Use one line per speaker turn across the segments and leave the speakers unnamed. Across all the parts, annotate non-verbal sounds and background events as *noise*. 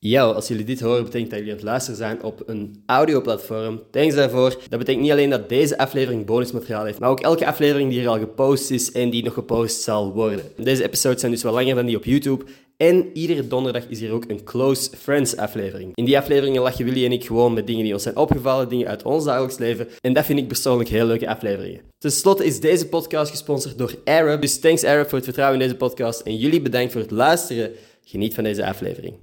Yo, als jullie dit horen, betekent dat jullie aan het luisteren zijn op een audioplatform. Thanks daarvoor. Dat betekent niet alleen dat deze aflevering bonusmateriaal heeft, maar ook elke aflevering die hier al gepost is en die nog gepost zal worden. Deze episodes zijn dus wel langer dan die op YouTube. En iedere donderdag is hier ook een Close Friends aflevering. In die afleveringen lachen Willy en ik gewoon met dingen die ons zijn opgevallen, dingen uit ons dagelijks leven. En dat vind ik persoonlijk heel leuke afleveringen. Ten slotte is deze podcast gesponsord door Arab. Dus thanks Arab voor het vertrouwen in deze podcast. En jullie bedankt voor het luisteren. Geniet van deze aflevering.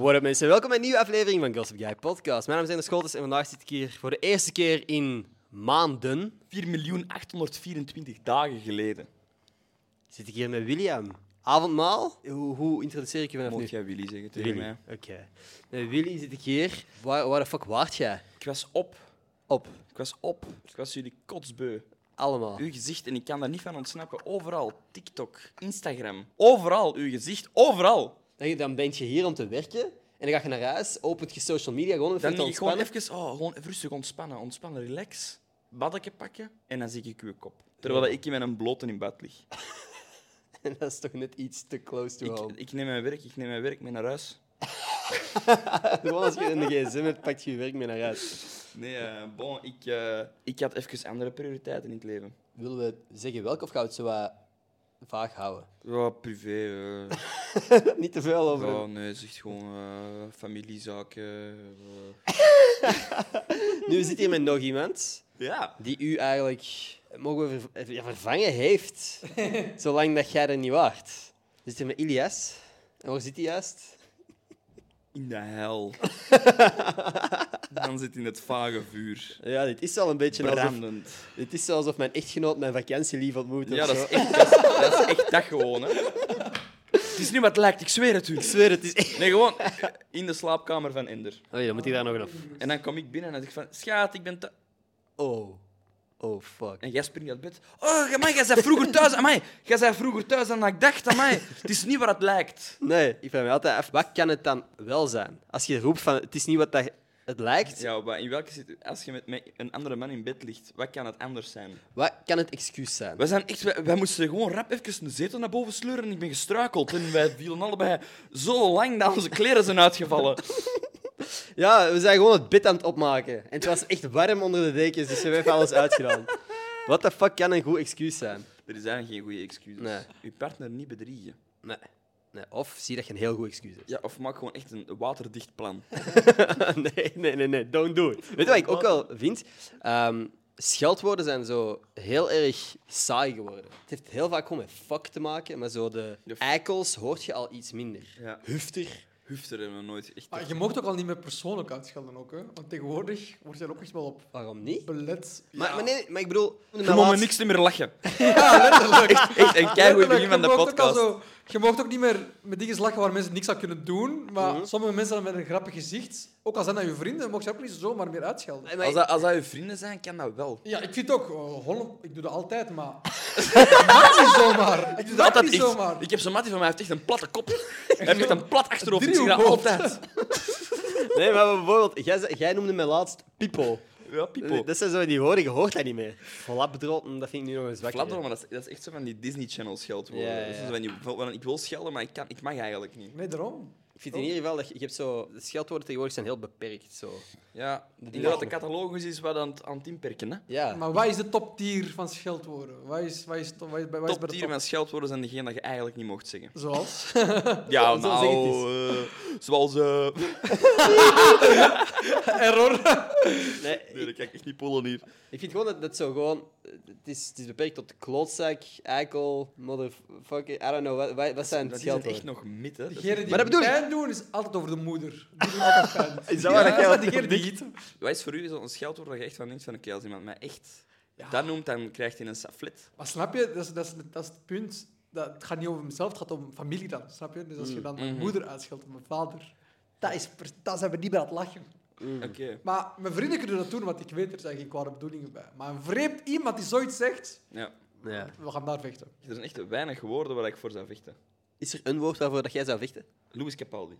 What up mensen, welkom bij een nieuwe aflevering van Gossip Guy Podcast. Mijn naam is Ender Scholtes en vandaag zit ik hier voor de eerste keer in maanden
4.824 dagen geleden.
zit ik hier met William. Avondmaal? Hoe, hoe introduceer ik je vanaf
Mocht
nu?
jij Willy zeggen tegen
Willy.
mij.
Oké. Met Willy zit ik hier. Waar, waar de fuck waart jij?
Ik was op.
Op.
Ik was op. Ik was jullie kotsbeu.
Allemaal.
Uw gezicht, en ik kan daar niet van ontsnappen. Overal. TikTok, Instagram. Overal. Uw gezicht. Overal.
Dan, dan ben je hier om te werken en dan ga je naar huis, opent je social media gewoon even
Dan
te
denk ik gewoon
ontspannen.
even, oh, gewoon even rustig ontspannen. Ontspannen, relax. Baddeke pakken. En dan zie ik uw kop. Terwijl ik met een blote in bed lig.
*laughs* dat is toch net iets te close to
Ik,
home.
ik neem mijn werk, ik neem mijn werk mee naar huis.
Gewoon als je in de gsm hebt, pak je je werk mee naar huis.
Nee, eh, bon, ik, eh, ik had even andere prioriteiten in het leven.
Willen we zeggen welk of gaan we het zo wat vaag houden? *laughs*
Ja, privé. eh.
Niet te veel over
Ja, nee, zegt gewoon eh, familiezaken. eh.
Nu zit hier met nog iemand
Ja.
die u eigenlijk, mogen we ver- ja, vervangen, heeft. Zolang dat jij er niet waart. We zitten met Ilias. En waar zit hij juist?
In de *laughs* hel. Dan zit in het vage vuur.
Ja, dit is al een beetje alsof,
Brandend.
dit is alsof mijn echtgenoot mijn vakantielief ontmoet.
Ja,
of
dat
zo.
is echt dat, is, dat, is echt dat gewoon, hè. Het is niet wat het lijkt, ik zweer het u.
Ik zweer, het is echt...
Nee, gewoon in de slaapkamer van Ender.
Oh ja, dan moet hij daar nog een af.
En dan kom ik binnen en dan zeg ik van... Schaat, ik ben thuis.
Oh. Oh, fuck.
En jij springt uit bed. Oh, man, jij zei vroeger thuis. Amai, jij zei vroeger thuis dan ik dacht. Amai, het is niet wat het lijkt.
Nee, ik vraag me altijd af, wat kan het dan wel zijn? Als je roept van, het is niet wat dat het lijkt,
Ja, maar in welke situatie... Als je met, met een andere man in bed ligt, wat kan het anders zijn?
wat kan het excuus zijn?
Wij, zijn echt, wij, wij moesten gewoon rap even een zetel naar boven sleuren en ik ben gestruikeld. En wij vielen allebei zo lang dat onze kleren zijn uitgevallen.
Ja, we zijn gewoon het bed aan het opmaken. En het was echt warm onder de dekens, dus we hebben alles uitgedaan. What the fuck kan een goed excuus zijn?
Er zijn geen goede excuses.
Nee.
Uw partner niet bedriegen.
Nee. nee. Of zie dat je een heel goed excuus hebt.
Ja, of maak gewoon echt een waterdicht plan.
*laughs* nee, nee, nee, nee, don't do it. Weet je wat ik ook wel vind? Ehm, scheldwoorden zijn zo heel erg saai geworden. Het heeft heel vaak gewoon met fuck te maken, maar zo de
De f-
eikels hoort je al iets minder.
Ja.
Hufter.
Hufter hebben we nooit echt...
Maar je mocht ook al niet meer persoonlijk uitschelden, ook, hè? want tegenwoordig wordt je ook echt wel op
Waarom niet?
belet.
Maar, maar nee, maar ik bedoel...
Je mag me niks meer lachen.
*laughs* Ja, letterlijk.
Echt een keigoed begin van de
Letterlijk, je mocht ook al
podcast.
zo- je mocht ook niet meer met dingen lachen waar mensen niks aan kunnen doen, maar
Mhm.
sommige mensen dan met een grappig gezicht, ook al zijn dat je vrienden, mocht je ook niet zomaar meer uitschelden.
Maar-
Als dat, als dat je vrienden zijn, kan dat wel.
Ja, ik vind ook, eh, Holland, ik doe dat altijd, maar... *laughs* dat niet zomaar. Ik doe dat,
Altijd
niet
echt.
zomaar.
Ik heb zo'n mattie van mij, hij heeft echt een platte kop. Hij heeft echt een plat achterhoofd. Ik zeg dat
Driehoekhoofd.
altijd.
Nee, maar bijvoorbeeld, jij, zei- jij noemde mij laatst Pipo.
Ja, pipo.
Eh, Dat zijn zo die woorden, je hoort dat niet meer. Flapdrotten, dat vind ik nu nog eens wakker.
Flapdrol, maar dat is, dat is echt zo van die Disney Channel scheldwoorden.
Ja, ja,
Dat is zo
ja.
van die- van- van, ik wil schelden, maar ik, kan, ik mag eigenlijk niet.
*laughs* Nee, daarom.
Ik vind in ieder geval dat je, je hebt zo... De scheldwoorden tegenwoordig zijn heel beperkt, zo.
Ja, ik denk dat de catalogus is wat aan het, aan het inperken. Hè?
Ja.
Maar wat is de top tier van scheldwoorden? Wat is, wat is, to- wat is, wat is bij
Top
de
tier van scheldwoorden zijn degene dat je eigenlijk niet mocht zeggen. *laughs*
Zoals?
zo
Ja,
zeg ik
nou, eh, zoals... eh
*laughs* Error.
Nee,
nee,
ik,
dat kan ik echt niet pollen hier.
ik vind gewoon dat, dat zo gewoon... eh, Het is, het is beperkt tot klootzak, eikel, motherfucker... I don't know, wat, wat, wat zijn
Dat is echt
scheldwoorden?
nog mid, hè. Dat-
Degene die
Maar dat bedoel ik.
pijn doen is altijd over de moeder.
*laughs*
Die doen altijd pijn.
Is dat waar dat jij
zijn
op
degene die gieten.
Wat is voor u zo'n scheldwoord dat je echt van denkt van, oké, als iemand mij echt dat noemt, dan krijgt hij een saflet.
Maar snap je, dat is, dat is, dat is het punt. dat, het gaat niet over mezelf, het gaat om familie dan, snap je? Dus als
Mm,
je dan mijn
Mhm.
moeder uitscheldt of mijn vader, dat, is, per- dat zijn we niet bij aan het lachen.
Oké.
Maar mijn vrienden kunnen dat doen, want ik weet, er zijn geen kwade bedoelingen bij. Maar een vreemd iemand die zoiets zegt,
Ja.
Ja.
we gaan daar vechten.
Er zijn echt weinig woorden waar ik voor zou vechten.
Is er een woord waarvoor dat jij zou vechten?
Louis Capaldi.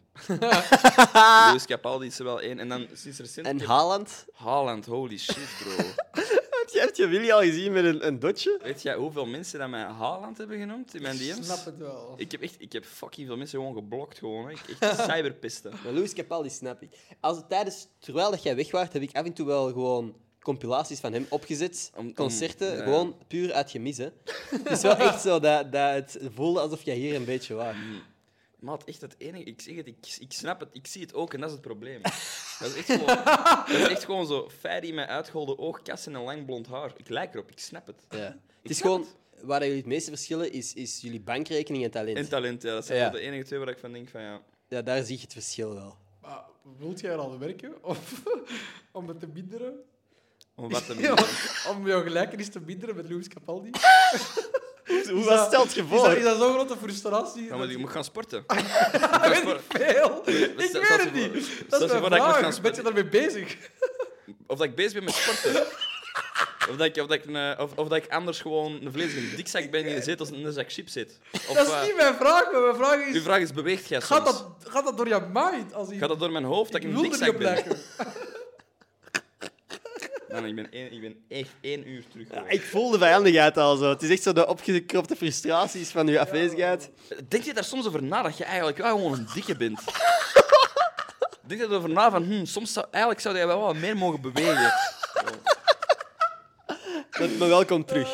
Louis Capaldi is er wel één. En dan sinds recent...
En Haaland?
Haaland, holy shit, bro. *laughs*
Heb je, heb je Willy al gezien met een, een dotje?
Weet jij hoeveel mensen dat mij Haaland hebben genoemd in mijn DM's?
Snap het wel.
Ik heb echt ik heb fucking veel mensen gewoon geblokt. Gewoon, hè. Ik-
*laughs*
Echt cyberpisten.
Maar Louis Capaldi snap ik. Als het tijdens, terwijl dat jij weg was, heb ik af en toe wel gewoon compilaties van hem opgezet.
Om- om-
concerten,
ja.
gewoon puur uit gemis. Hè. Het is wel echt zo dat, dat het voelde alsof jij hier een beetje was.
Maat, echt het enige. Ik zeg het, ik, ik snap het, ik zie het ook en dat is het
*laughs*
probleem. Dat is echt gewoon, dat is echt gewoon zo. Fairy met uitgeholde oogkassen en lang blond haar. Ik lijk erop, ik snap het.
Ja. Het is
snap
gewoon, waar jullie het meeste verschillen, is, is jullie bankrekening en talent.
En talent, ja, dat zijn
Ja.
wel de enige twee waar ik van denk van ja.
ja, daar zie je het verschil wel.
Maar wilt jij er al werken? *laughs* Of om het te minderen?
Om
*laughs*
wat te
Ja,
doen.
om jouw gelijkenis te minderen met Louis Capaldi?
Hoe
was dat-
stelt
Is dat, is dat zo'n grote frustratie?
Ja, maar
dat-
ik moet gaan sporten.
dat weet ik veel. Ik
stel-
weet
stel
het
je voor-
niet.
stel
Dat
je
is mijn
voor dat ik moet gaan
vraag. Ben je
spelen.
daarmee bezig?
Of dat ik bezig ben met sporten. Of dat, ik, of, dat ik een- of, of dat ik anders gewoon een vleesige dikzak ben in de zetel als in een zak chips zit. Of,
Dat
eh,
is niet mijn vraag, maar mijn vraag
uw
is...
vraag is, beweegt jij soms?
Gaat dat, gaat dat door jouw mind? Als
Gaat dat door mijn hoofd dat ik, een
wil er niet
dikzak
op
ben?
lijken.
Man, ik, ben één, ik ben echt één uur terug. gewoon.
Ik voel de vijandigheid al zo. Het is echt zo de opgekropte frustraties van uw afwezigheid.
Denk je daar soms over na dat je eigenlijk wel gewoon een dikke
*laughs*
bent? Denk je erover na van, hm, soms zou, eigenlijk zou jij wel wat meer mogen bewegen.
Maar maar welkom terug.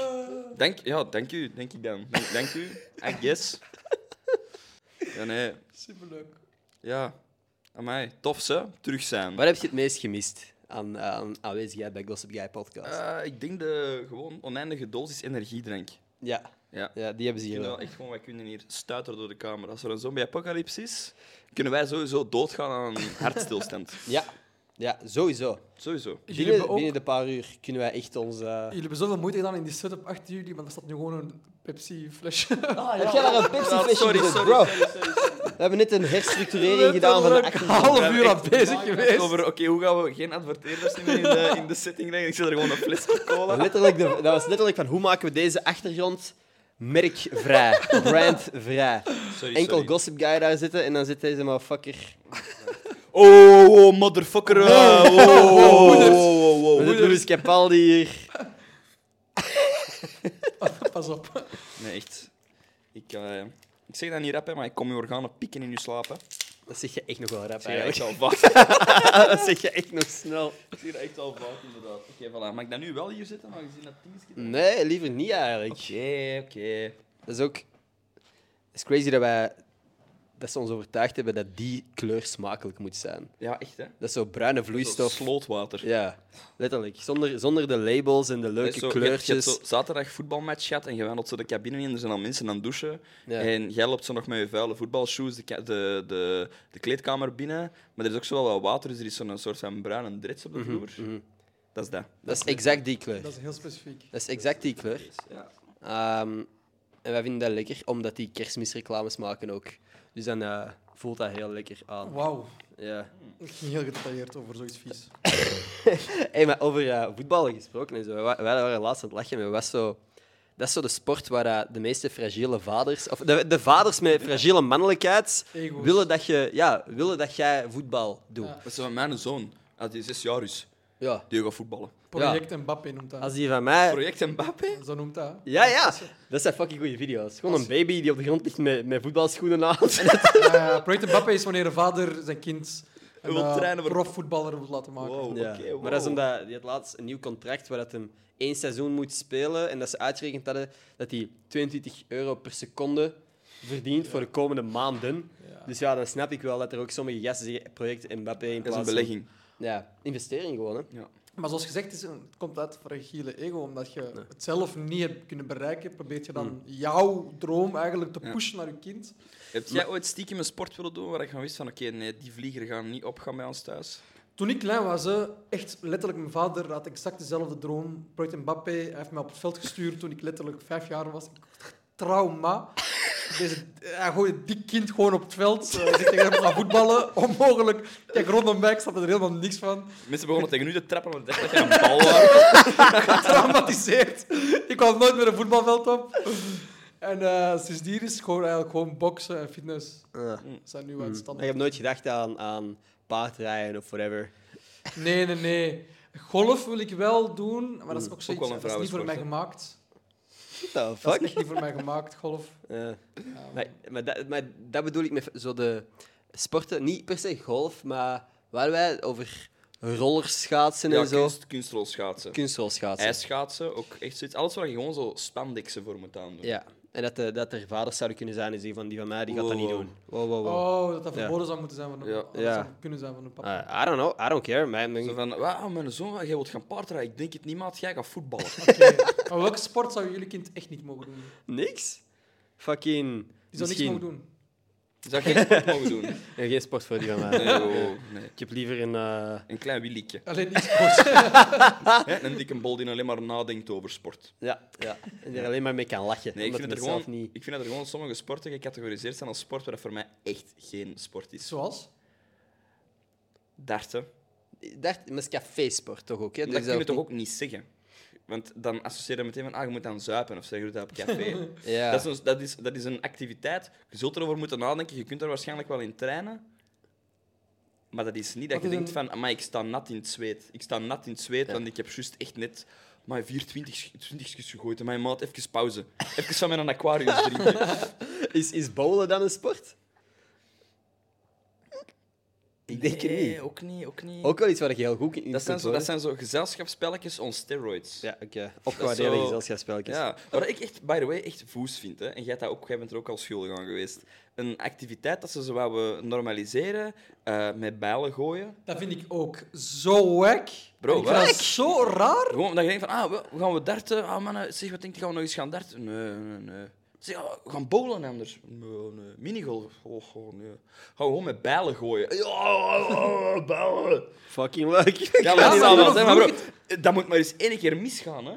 Dank, ja, dank u, denk ik dan. Dank- Dank u, I guess. Ja, nee.
Superleuk.
Ja. Amai, tof ze, terug zijn.
Wat heb je het meest gemist aan, aan aanwezigheid bij Gossip Guy podcast?
Eh, ik denk de gewoon oneindige dosis energiedrank.
ja.
Ja.
ja, die hebben ze
Ik
hier
vind
wel.
wel echt gewoon, wij kunnen hier stuiteren door de kamer. Als er een zombie-apocalypse is, kunnen wij sowieso doodgaan aan een hartstilstand.
Ja. ja, sowieso.
Sowieso.
Jullie
Binnen,
hebben, ook, Ah,
binnen de paar uur kunnen wij echt eh, onze...
jullie hebben zoveel moeite gedaan in die setup achter jullie, maar er staat nu gewoon een Pepsi-flesje. *laughs*
Heb jij daar een pepsi flesje
sorry,
gezet,
sorry,
bro? We hebben net een herstructurering gedaan van de
Letterlijk een
achtergrond.
half uur
Ja,
aan
echt.
bezig geweest.
Over, oké, hoe gaan we geen adverteerders meer in de, in de setting leggen? Ik zet er gewoon een fles met cola.
Letterlijk de, dat was letterlijk van hoe maken we deze achtergrond merkvrij, brandvrij.
Sorry,
Enkel
sorry.
Gossip Guy daar zitten en dan zit deze motherfucker.
Oh, oh, motherfucker. eh, oh, oh, oh, oh, oh, oh,
Met
oh.
het Louis Capaldi hier.
*laughs* Pas op.
Nee, echt. Ik, eh, ik zeg dat niet rap, hè, maar ik kom je organen pikken in je slaap. Hè. Ik
Dat zeg je echt nog wel rap
zeg dat echt
eigenlijk.
al vaak.
*laughs* dat zeg je echt nog snel.
*laughs* Ik zeg dat echt al vaak, inderdaad. Oké, voilà. Mag ik dat nu wel hier zitten, aangezien dat ding is...
Nee, liever niet eigenlijk.
Oké, oké.
Dat is ook... Het is crazy dat wij... Dat ze ons overtuigd hebben dat die kleur smakelijk moet zijn.
Ja, echt, hè.
Dat is zo bruine
Zo
vloeistof.
Slootwater.
Ja, letterlijk. Zonder, zonder de labels en de
Dat
leuke
is zo, je hebt-
kleurtjes.
Je hebt, zo zaterdag voetbalmatch gehad en je wandelt zo de cabine in, er zijn al mensen aan het douchen.
Ja.
En jij loopt zo nog met je vuile voetbalshoes de, ka- de, de, de kleedkamer binnen. Maar er is ook zo wel wat water, dus er is zo'n soort van bruine drits
Mhm,
op de vloer. Dat is dat.
Dat is exact die kleur.
Dat is heel specifiek.
Dat is exact die kleur.
Ja.
Ehm, en wij vinden dat lekker, omdat die kerstmisreclames maken ook. Dus dan eh, voelt dat heel lekker aan.
Wauw.
Ja.
Ik ging heel gedetailleerd over zoiets vies.
Hey, maar over voetballen voetballen gesproken en zo. Wij, wij waren laatst aan het lachen. Maar was zo, dat is zo de sport waar eh, de meeste fragiele vaders... Of de, de vaders met fragiele mannelijkheid
Ego's.
willen dat, je, ja, willen dat jij voetbal doet.
Ja.
Dat is van mijn zoon, als die zes jaar is,
Ja.
die gaat voetballen.
Project Mbappé noemt dat.
Als die van mij...
Project Mbappé?
Zo noemt dat. hè?
Ja, ja. Dat zijn fucking goede video's. Gewoon een baby die op de grond ligt met, met voetbalschoenen aan.
*laughs* Ja, project Mbappé is wanneer een vader zijn kind een
Wil
eh,
trainen voor-
profvoetballer wil laten maken.
Wow,
Ja,
Oh, oké, wow.
maar dat is omdat hij had laatst een nieuw contract waar dat hem één seizoen moet spelen en dat ze uitgerekend hadden dat hij 22 euro per seconde verdient voor de komende maanden.
Ja.
Dus ja, dan snap ik wel dat er ook sommige gasten zeggen project Mbappé in
Dat is
plaats
een
van-
belegging.
Ja, investering gewoon. Hè.
Maar zoals gezegd, het, is een- het komt uit fragiele ego. Omdat je het zelf niet hebt kunnen bereiken, probeert je dan jouw droom eigenlijk te
Ja.
pushen naar je kind.
Heb jij ooit stiekem een sport willen doen waar ik van wist van, oké, nee, die vlieger gaan niet opgaan bij ons thuis?
Toen ik klein was, hè, echt letterlijk, mijn vader had exact dezelfde droom. Project Mbappé hij heeft mij op het veld gestuurd toen ik letterlijk vijf jaar was. Ik trauma. *laughs* Deze, hij gooit een dik kind gewoon op het veld. Eh, Hij zegt tegen hem, we gaan voetballen. *laughs* Onmogelijk. Kijk, rondom mij, ik snap er helemaal niks van.
Mensen begonnen tegen u te trappen, want ik dacht dat je *laughs* een bal was.
Getraumatiseerd. Ik kwam nooit meer een voetbalveld op. En eh, sindsdien is het gewoon, eigenlijk gewoon boksen en fitness. zijn nu aan
Ik heb nooit gedacht aan, aan paardrijden of whatever.
Nee, nee, nee. Golf wil ik wel doen, maar
Mm.
dat is ook zoiets.
wel een
dat is niet voor mij
vrouwensport,
gemaakt.
What the
Dat
fuck?
is echt niet voor mij gemaakt, golf.
Ja. Maar, maar, dat, maar dat bedoel ik met zo de sporten, niet per se golf, maar waar wij over rollerschaatsen
Ja,
en zo.
kunst, kunstrol schaatsen.
Kunstrolschaatsen.
ijsschaatsen, ook echt zoiets. Alles waar je gewoon zo spandexen voor moet aandoen.
Ja. En dat, de, dat er vaders zouden kunnen zijn en zeggen van die van mij die gaat dat niet
Wow.
doen. Wow, *laughs* wow, wow.
Oh, dat dat
Ja.
verboden zou moeten zijn van de
Ja.
dat
Ja.
zou kunnen zijn van de papa.
Ah, I don't know, I don't care. Mijn, mijn-
Zo van, wauw, mijn zoon, jij wilt gaan paardrijden. Ik denk het niet, maat. Jij gaat *laughs* voetballen.
Oké. maar welke sport zou jullie kind echt niet mogen doen? Die zou
Niks? Fucking.
niks
Misschien.
mogen doen.
Je zou geen sport mogen doen.
Ja, geen sport voor die van mij.
*laughs* Nee, oh, nee.
Ik heb liever een. eh,
Een klein wieliekje.
Alleen niet sport.
Hè, Een dikke bol die alleen maar nadenkt over sport.
Ja, ja. En er alleen maar mee kan lachen.
Nee, ik
omdat het
vind, dat er gewoon,
zelf niet.
ik vind dat er gewoon sommige sporten gecategoriseerd zijn als sport waar dat voor mij echt geen sport is.
Zoals?
Darten.
Dacht, maar het is café-sport toch ook? Hè?
dat kun je
ook
toch
niet-
ook niet zeggen? Want dan associeer je meteen van, ah, je moet dan zuipen of zo, je doet dat op *laughs* café.
Ja.
dat, is een, dat, is, dat is een activiteit. Je zult erover moeten nadenken, je kunt er waarschijnlijk wel in trainen. Maar dat is niet dat
Wat
je
is
denkt
een-
van, maar ik sta nat in het zweet. Ik sta nat in het zweet, want ik heb juist echt net maar 24 20 gegooid. En mijn maat, even pauze. Even van mijn aquarius drinken.
Is, is bowlen dan een sport? Ik denk het
*laughs* Nee,
niet.
ook niet, ook niet.
Ook wel iets waar ik heel goed in
dat, zijn
kunt
zo, dat
worden.
zijn zo gezelschapsspelletjes on steroids.
Ja, oké. Opgewaardeerde
zo-
gezelschapsspelletjes.
Ja, wat ik echt, by the way, echt voes vind, hè, en jij, hebt dat ook, jij bent er ook al schuldig aan geweest. Een activiteit dat ze zo wouden normaliseren, eh, met bijlen gooien.
Dat vind ik ook zo wack.
Bro,
ik vind
wack.
dat zo raar.
Gewoon omdat je denkt van, ah, we- we gaan we darten? Ah, mannen, zeg, wat denk je, gaan we nog eens gaan darten? Nee, nee, nee. Zeg, ah, we gaan bowlen anders. Nee, nee. Minigolf? Oh, oh, nee. Gaan we gewoon met bijlen gooien. Ja, oh, oh, oh, *laughs* bijlen.
Fucking leuk.
Ja,
maar
maar, dat,
dat is
maar bro,
nog
dat moet maar eens één keer misgaan, hè.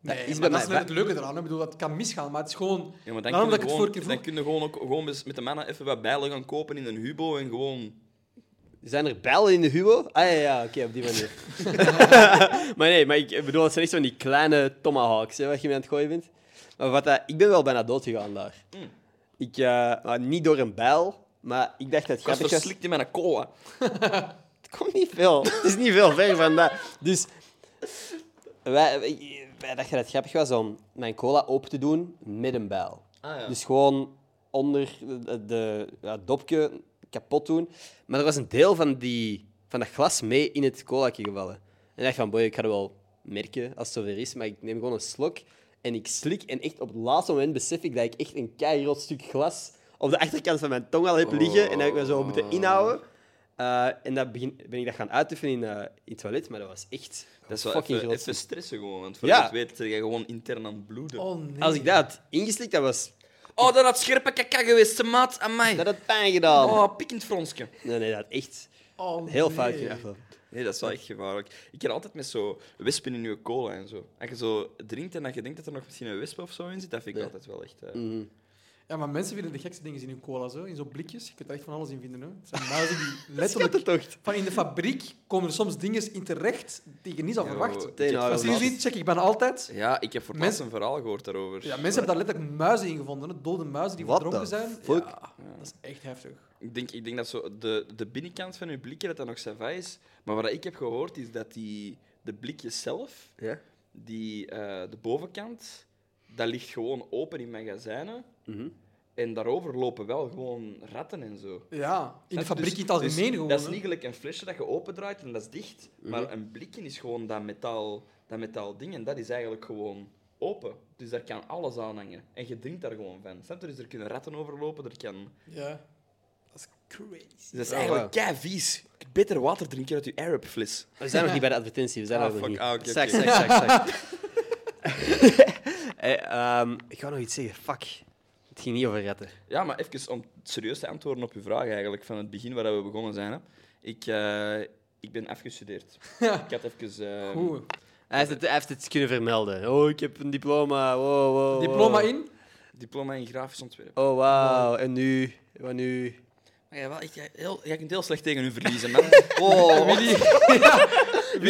Nee,
is bij
maar dat
mij-
is net het leuke eraan. hè. Ik bedoel, dat kan misgaan, maar het is gewoon...
Ja, maar dan
Daarom
kun
dat
je
ik het
gewoon,
vorige keer
dan
vroeg.
kun je gewoon, ook, gewoon eens met de mannen even wat bijlen gaan kopen in een hubo en gewoon...
Zijn er bijlen in de hubo? Ah ja, ja oké, op die manier. maar nee, maar ik bedoel, het zijn echt zo van die kleine tomahawks, hè, wat je mee aan het gooien bent. Maar wat dat, ik ben wel bijna dood gegaan daar. Ik, eh, maar niet door een bijl, maar ik dacht dat het
Ik was
grappig was.
verslikt in mijn cola.
Het *laughs* komt niet veel. Het is niet veel ver van dat. Dus wij, wij- wij dachten dat het grappig was om mijn cola open te doen met een bijl.
Ah,
Dus gewoon onder de, de- ja, het dopje kapot doen. Maar er was een deel van, die, van dat glas mee in het colaatje gevallen. En ik dacht van, boy, ik ga het wel merken als het zover is. Maar ik neem gewoon een slok en ik slik. En echt op het laatste moment besef ik dat ik echt een keihard stuk glas op de achterkant van mijn tong al heb liggen. En dat ik me zo moeten
Oh.
inhouden. Eh, en dat begin, ben ik dat gaan uitoefenen in, eh, in het toilet, maar dat was echt
Dat is wel
fucking
even,
groot
even stressen gewoon, want voor
Ja.
je het weet ben jij gewoon intern aan het bloeden. Oh,
Oh, nee.
Als ik dat had ingeslikt, dat was...
dat had scherpe kaka geweest, ze maat aan mij.
Dat had pijn gedaan.
Oh, pikkend fronsje.
Nee, nee, dat had echt
Oh,
heel
nee.
fout gedaan. wel.
Nee, dat is wel echt gevaarlijk. Ik heb altijd met zo wespen in je cola en zo. Als je zo drinkt en dat je denkt dat er nog misschien een wesp of zo in zit, dat vind ik altijd wel echt... eh,
Ja, maar mensen vinden de gekste dingen in hun cola, zo. in zo'n blikjes. Je kunt er echt van alles in vinden. Hè. Het
*laughs*
zijn muizen die letterlijk...
Schattentocht.
Van in de fabriek komen er soms dingen in terecht die je niet zou
Yo,
verwachten.
ik heb
Teenhouden.
Maar
voor laatst-
sindsdien check ik bijna altijd.
Ja, ik heb voor
Mensen-
laatst een verhaal gehoord daarover.
Ja, mensen hebben daar letterlijk muizen in gevonden. Hè. Dode muizen die
What
verdronken
the
zijn.
fuck?
Ja, dat is echt heftig.
Ik denk, ik denk dat zo de, de binnenkant van hun blikje dat dat nog savai is. Maar wat ik heb gehoord is dat die, de blikjes zelf,
Ja.
die, eh, de bovenkant, dat ligt gewoon open in magazijnen. En daarover lopen wel gewoon ratten en zo.
Ja, in
Snap je?
de fabriek
Dus-
in het algemeen
dus
gewoon.
Dat is
hè.
niet gelijk een flesje dat je opendraait en dat is dicht. Maar een blikje is gewoon dat metaal, dat metaal ding en dat is eigenlijk gewoon open. Dus daar kan alles aan hangen. En je drinkt daar gewoon van. Snap je? Dus er kunnen ratten overlopen, er kan...
Ja. Dat is crazy.
Dus dat is
Oh,
eigenlijk
wauw.
kei vies. Beter water drinken uit je Arab fles.
We zijn nog niet bij de advertentie, we zijn
Ah,
er nog
fuck.
niet.
Ah, oké,
Zak,
oké.
zak, zak, zak. *laughs* Eh, ehm, ik ga nog iets zeggen. Fuck. Het ging niet over ratten.
Ja, maar even om serieus te antwoorden op uw vraag eigenlijk van het begin waar we begonnen zijn. Hè. Ik, eh, ik ben *laughs* afgestudeerd. Ik had even... eh,
Goed.
Oh, Hij heeft, het, hij heeft het kunnen vermelden. Oh, ik heb een diploma. Wow, wow, wow.
Diploma in?
Diploma in grafisch ontwerp.
Oh, wauw. En nu? Wat nu?
Maar jij, wel echt, jij, heel, jij kunt heel slecht tegen u verliezen, *laughs* man.
Oh, *laughs*
Willy,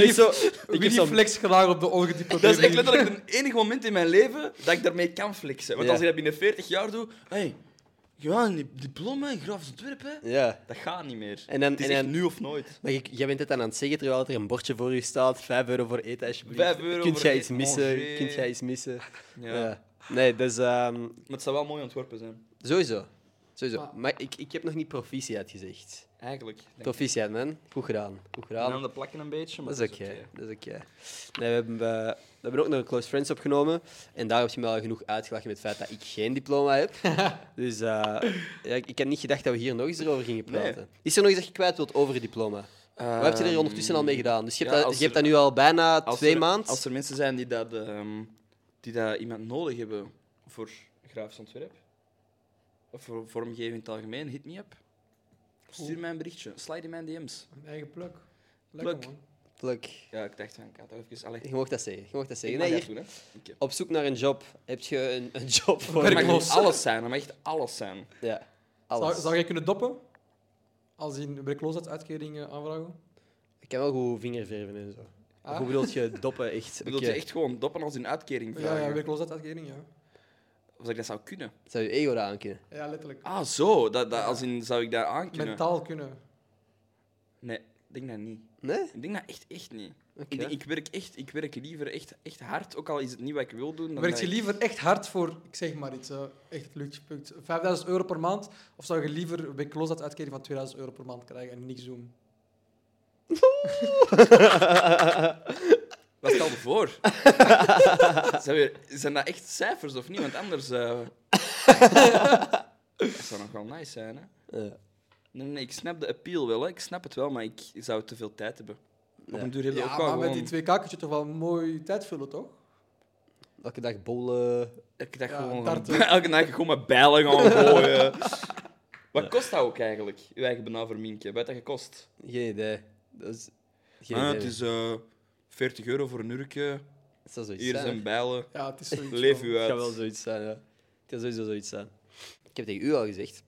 wie zo... Ik
Willy
heb zo'n...
flex gedaan op de ongediplomeerde.
Dat is echt letterlijk het enige moment in mijn leven dat ik daarmee kan flexen. Want
Ja.
als ik dat binnen 40 jaar doe... Hey, ja, een diploma in grafisch ontwerp, hè.
Ja.
Dat gaat niet meer.
En dan-
het is
en
echt
dan-
nu of nooit.
Maar je- jij bent het dan aan het zeggen terwijl er een bordje voor je staat. Vijf euro voor eten, alsjeblieft.
Vijf euro
Kunt
voor
jij
eten.
iets missen?
Oh, jee.
Kunt jij iets missen?
Ja.
Ja. Nee, dus... ehm,
Maar het zou wel mooi ontworpen zijn.
sowieso. Sowieso. Maar ik, ik heb nog niet proficiat gezegd.
Eigenlijk. denk ik.
Proficiat, man. Goed gedaan. Goed
En
gedaan.
dan de plakken een beetje, maar
Dat is oké. Dat is oké. Nee, we, hebben, eh, we hebben ook nog een Close Friends opgenomen. En daar heb je me al genoeg uitgelachen met het feit dat ik geen diploma
*laughs*
heb. dus eh, ja, ik, ik had niet gedacht dat we hier nog eens over gingen praten. Is er nog iets dat je kwijt wilt over het diploma? Wat heb je er ondertussen al mee gedaan? Dus je hebt,
Ehm, ja,
dat,
als
je hebt
er-
dat nu al bijna
Als
twee
er-
maanden.
Als er mensen zijn die dat, ehm, die dat iemand nodig hebben voor grafisch ontwerp, of voor vormgeving in het algemeen, hit me up. Stuur mij een berichtje. Slide in mijn DM's.
Een eigen pluk. Lekker,
Pluk.
man.
Leuk.
Ja, ik dacht van, ik ga toch even... Allee,
Je mag dat zeggen. Je mag dat
ik
zeggen.
mag
Nee,
dat
hier,
doen, hè. Oké.
op zoek naar een job. Heb je een, een job voor?
Het mag
Werkloos.
niet alles zijn, het mag echt alles zijn.
Ja,
Zou,
alles.
zou jij kunnen doppen? Als in werkloosheidsuitkering eh, aanvragen?
Ik kan wel goed vingerverven en zo.
Ah.
Hoe bedoel je doppen echt?
Bedoel
Oké.
je echt gewoon doppen als een uitkering
Ja,
vragen?
ja, werkloosheidsuitkering, ja.
Of dat ik dat zou kunnen?
Zou je ego daar aan kunnen?
Ja, letterlijk.
Ah, zo. Dat, dat, als in, zou ik daar aan kunnen?
Mentaal kunnen.
Nee, ik denk dat niet.
Nee?
Ik denk dat echt, echt niet.
Oké.
Ik, denk- ik werk echt, ik werk liever echt, echt hard, ook al is het niet wat ik wil doen. dan
Werkt
dat
je
ik-
liever echt hard voor, ik zeg maar iets, eh, echt het luchtje punt, 5000 euro per maand? Of zou je liever werkloosheidsuitkering van 2000 euro per maand krijgen en niks doen?
Wat stel je voor? *laughs* zijn, we- zijn dat echt cijfers of niet? Want anders. eh,
*laughs*
dat zou nog wel nice zijn, hè?
Ja.
Nee, nee, ik snap de appeal wel, hè. ik snap het wel, maar ik zou te veel tijd hebben. Op
Ja.
een duur heb je
Ja,
ook
maar
wel
met
gewoon...
die twee kakertjes toch wel mooi tijd vullen, toch?
Elke dag bollen.
Ik dacht
Ja,
gewoon...
darten.
*laughs* Elke dag gewoon met bijlen *laughs* gaan gooien. Wat kost dat ook eigenlijk, je eigen banaal voor Minkje? Wat heeft dat gekost?
Geen idee. Dat is... Geen
Ah,
idee.
het is eh 40 euro voor een urkje.
Het zal zoiets
Hier
zijn.
zijn bijlen.
Ja, het is zoiets.
Leef
van-
u
Het gaat
uit.
wel zoiets zijn, ja. Het kan sowieso zoiets zijn. Ik heb tegen u al gezegd.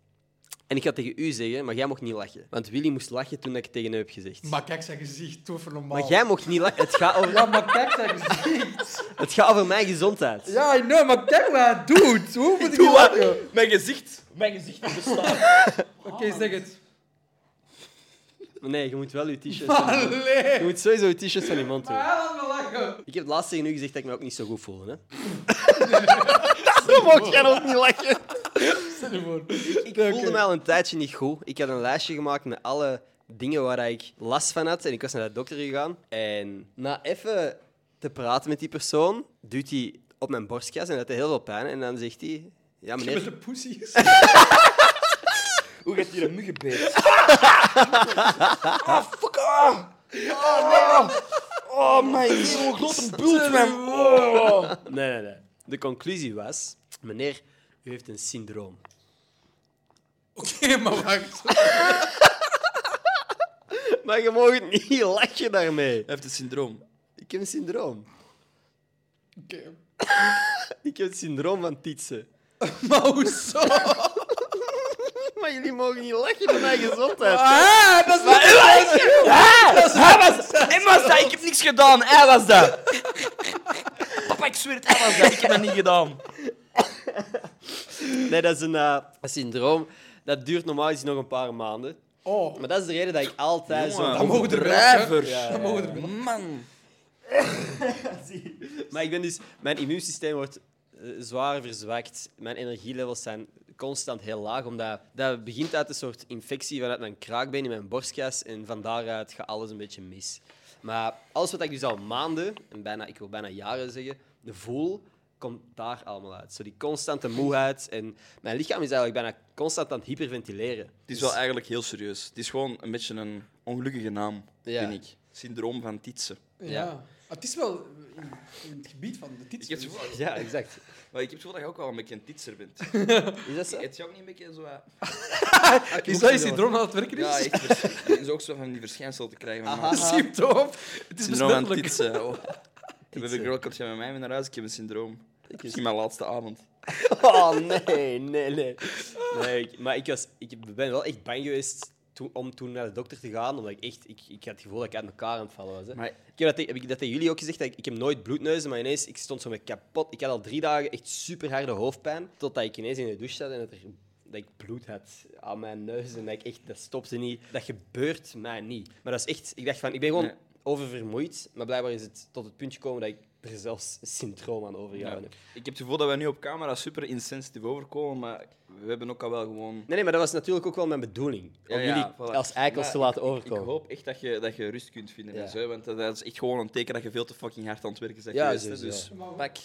En ik ga tegen u zeggen, maar jij mocht niet lachen. Want Willy moest lachen toen ik het tegen hem heb gezegd.
Maar kijk zijn gezicht, toe voor normaal.
Maar jij mocht niet lachen. Het gaat over, *laughs*
Ja, maar kijk zijn gezicht.
het gaat over mijn gezondheid.
Ja, I know, maar kijk wat hij doet. Hoe moet ik
Doe
niet
wat?
lachen?
Mijn gezicht. Mijn gezicht bestaat.
Oké, zeg het.
Maar nee, je moet wel je t-shirt...
Maar leef.
Je moet sowieso je t-shirt van iemand doen.
Ja, laat me lachen.
Ik heb het laatst tegen u gezegd dat ik me ook niet zo goed voelde, *laughs* hè. Daarom mocht jij ook niet lachen.
Stel je voor.
Ik voelde mij al een tijdje niet goed. Ik had een lijstje gemaakt met alle dingen waar ik last van had. En ik was naar de dokter gegaan. En na even te praten met die persoon, duwt hij op mijn borstkas en had hij heel veel pijn. En dan zegt hij... Ja,
Met
meneer...
de poesie.
Hoe gaat hier een muggenbeet? ah, fuck ah. Oh, nee. Oh, mijn hemel, groot een bult, man. Oh.
Nee, nee, nee. De conclusie was... Meneer, u heeft een syndroom.
Oké, *laughs* maar wacht.
*laughs* Maar je mag het niet lachen daarmee.
Hij heeft het syndroom.
Ik heb een syndroom.
Oké.
*laughs* Ik heb het syndroom van Tietsen.
*laughs* Maar hoezo?
*laughs* Maar jullie mogen niet lachen met mijn gezondheid.
Ah, dat is wat
Emma was dat, ik heb niks gedaan. Hij was dat. *laughs* Papa, ik zweer het, hij was dat. Ik heb dat niet gedaan.
Nee, dat is een eh, een syndroom. Dat duurt normaal gezien nog een paar maanden.
Oh,
Maar dat is de reden dat ik altijd
Jongen.
zo...
dan mogen we er wel, hè.
Drijver.
Dan mogen we er wel.
Man.
Maar ik ben dus... Mijn immuunsysteem wordt eh, zwaar verzwakt. Mijn energielevels zijn constant heel laag, omdat dat begint uit een soort infectie vanuit mijn kraakbeen in mijn borstkas. En van daaruit gaat alles een beetje mis. Maar alles wat ik dus al maanden, en bijna, ik wil bijna jaren zeggen, voel, komt daar allemaal uit. Zo die constante moeheid. En mijn lichaam is eigenlijk bijna constant aan het hyperventileren.
Het is wel eigenlijk heel serieus. Het is gewoon een beetje een ongelukkige naam,
Ja.
vind ik. Syndroom van Tietsen.
Ja. Het is wel in, in het gebied van de titel.
Ik heb, het gevoel,
Dus- *laughs* Ja, exact.
maar ik heb het gevoel dat je ook wel een beetje een Tietser *laughs* bent.
Is dat zo?
Het is ook niet een beetje zo... eh,
Is dat je syndroom aan het werken is?
Ja, echt *laughs* verschijnsel. is ook zo van die verschijnsel te krijgen. Van, ah,
*laughs* Symptoom. Het is
syndroom aan
besmettelijk.
Tietsen. Oh. Ik heb een girlkopje met mij mee naar huis, ik heb een syndroom. Misschien mijn laatste avond.
*laughs* Oh, nee, nee, nee. nee ik- maar ik, was, ik ben wel echt bang geweest toen- om toen naar de dokter te gaan, omdat ik echt... Ik, ik had het gevoel dat ik uit elkaar aan het vallen was. Hè.
Maar-
ik heb, dat, tegen- heb ik dat tegen jullie ook gezegd? Dat ik, ik heb nooit bloedneuzen, maar ineens ik stond zo met kapot. Ik had al drie dagen echt super harde hoofdpijn, totdat ik ineens in de douche zat en dat, er, dat ik bloed had aan mijn neus. En dat ik echt... Dat stopte niet. Dat gebeurt mij niet. Maar dat is echt... Ik dacht van, ik ben gewoon...
Nee.
Oververmoeid, maar blijkbaar is het tot het puntje komen dat ik er zelfs syndroom aan overgehouden heb.
Ik heb het gevoel dat wij nu op camera super insensitief overkomen, maar we hebben ook al wel gewoon...
Nee, nee, maar dat was natuurlijk ook wel mijn bedoeling. Om
Ja, ja,
jullie
voilà.
als eikels
Maar
te laten
ik-
overkomen.
Ik hoop echt dat je, dat je rust kunt vinden.
Ja.
en zo, want dat- dat is echt gewoon een teken dat je veel te fucking hard aan het werken bent
Ja,
geweest. hè.
sowieso.
Dus pak,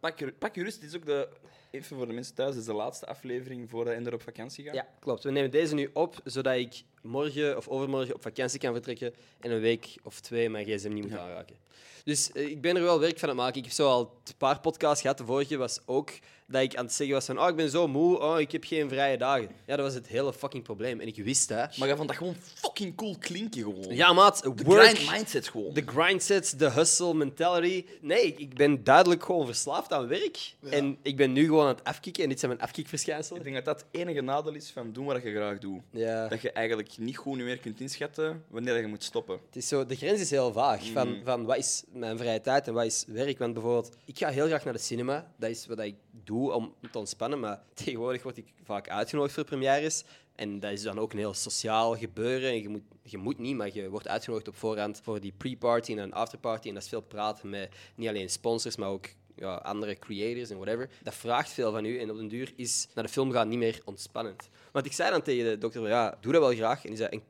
pak, je- pak je rust. Dit is ook de... Even voor de mensen thuis, dit is de laatste aflevering voordat Ender op vakantie gaat.
Ja, klopt. We nemen deze nu op, zodat ik morgen of overmorgen op vakantie kan vertrekken en een week of twee mijn gsm niet moet aanraken. Dus eh, ik ben er wel werk van aan het maken. Ik heb zo al een paar podcasts gehad. De vorige was ook dat ik aan het zeggen was van oh, ik ben zo moe, oh, ik heb geen vrije dagen. Ja, dat was het hele fucking probleem. En ik wist dat.
Maar jij vond dat gewoon fucking cool klinken gewoon.
Ja, maat,
De
work...
grind mindset gewoon.
De grindsets, de hustle mentality. Nee, ik- ik ben duidelijk gewoon verslaafd aan werk. En ik ben nu gewoon aan het afkicken. En dit zijn mijn afkikverschijnselen.
Ik denk dat dat het enige nadeel is van doen wat je graag doet.
Ja,
Dat je eigenlijk niet goed nu meer kunt inschatten wanneer dat je moet stoppen.
het is zo, de grens is heel vaag. Van, van wat is mijn vrije tijd en wat is werk? Want bijvoorbeeld, ik ga heel graag naar de cinema. Dat is wat ik doe om te ontspannen. Maar *laughs* tegenwoordig word ik vaak uitgenodigd voor premières. En dat is dan ook een heel sociaal gebeuren. En je, moet, je moet niet, maar je wordt uitgenodigd op voorhand voor die pre-party en een afterparty. En dat is veel praten met niet alleen sponsors, maar ook ja, andere creators en whatever. Dat vraagt veel van u. En op den duur is naar de film gaan niet meer ontspannend. Want ik zei dan tegen de dokter, van, ja, doe dat wel graag. En die zei, en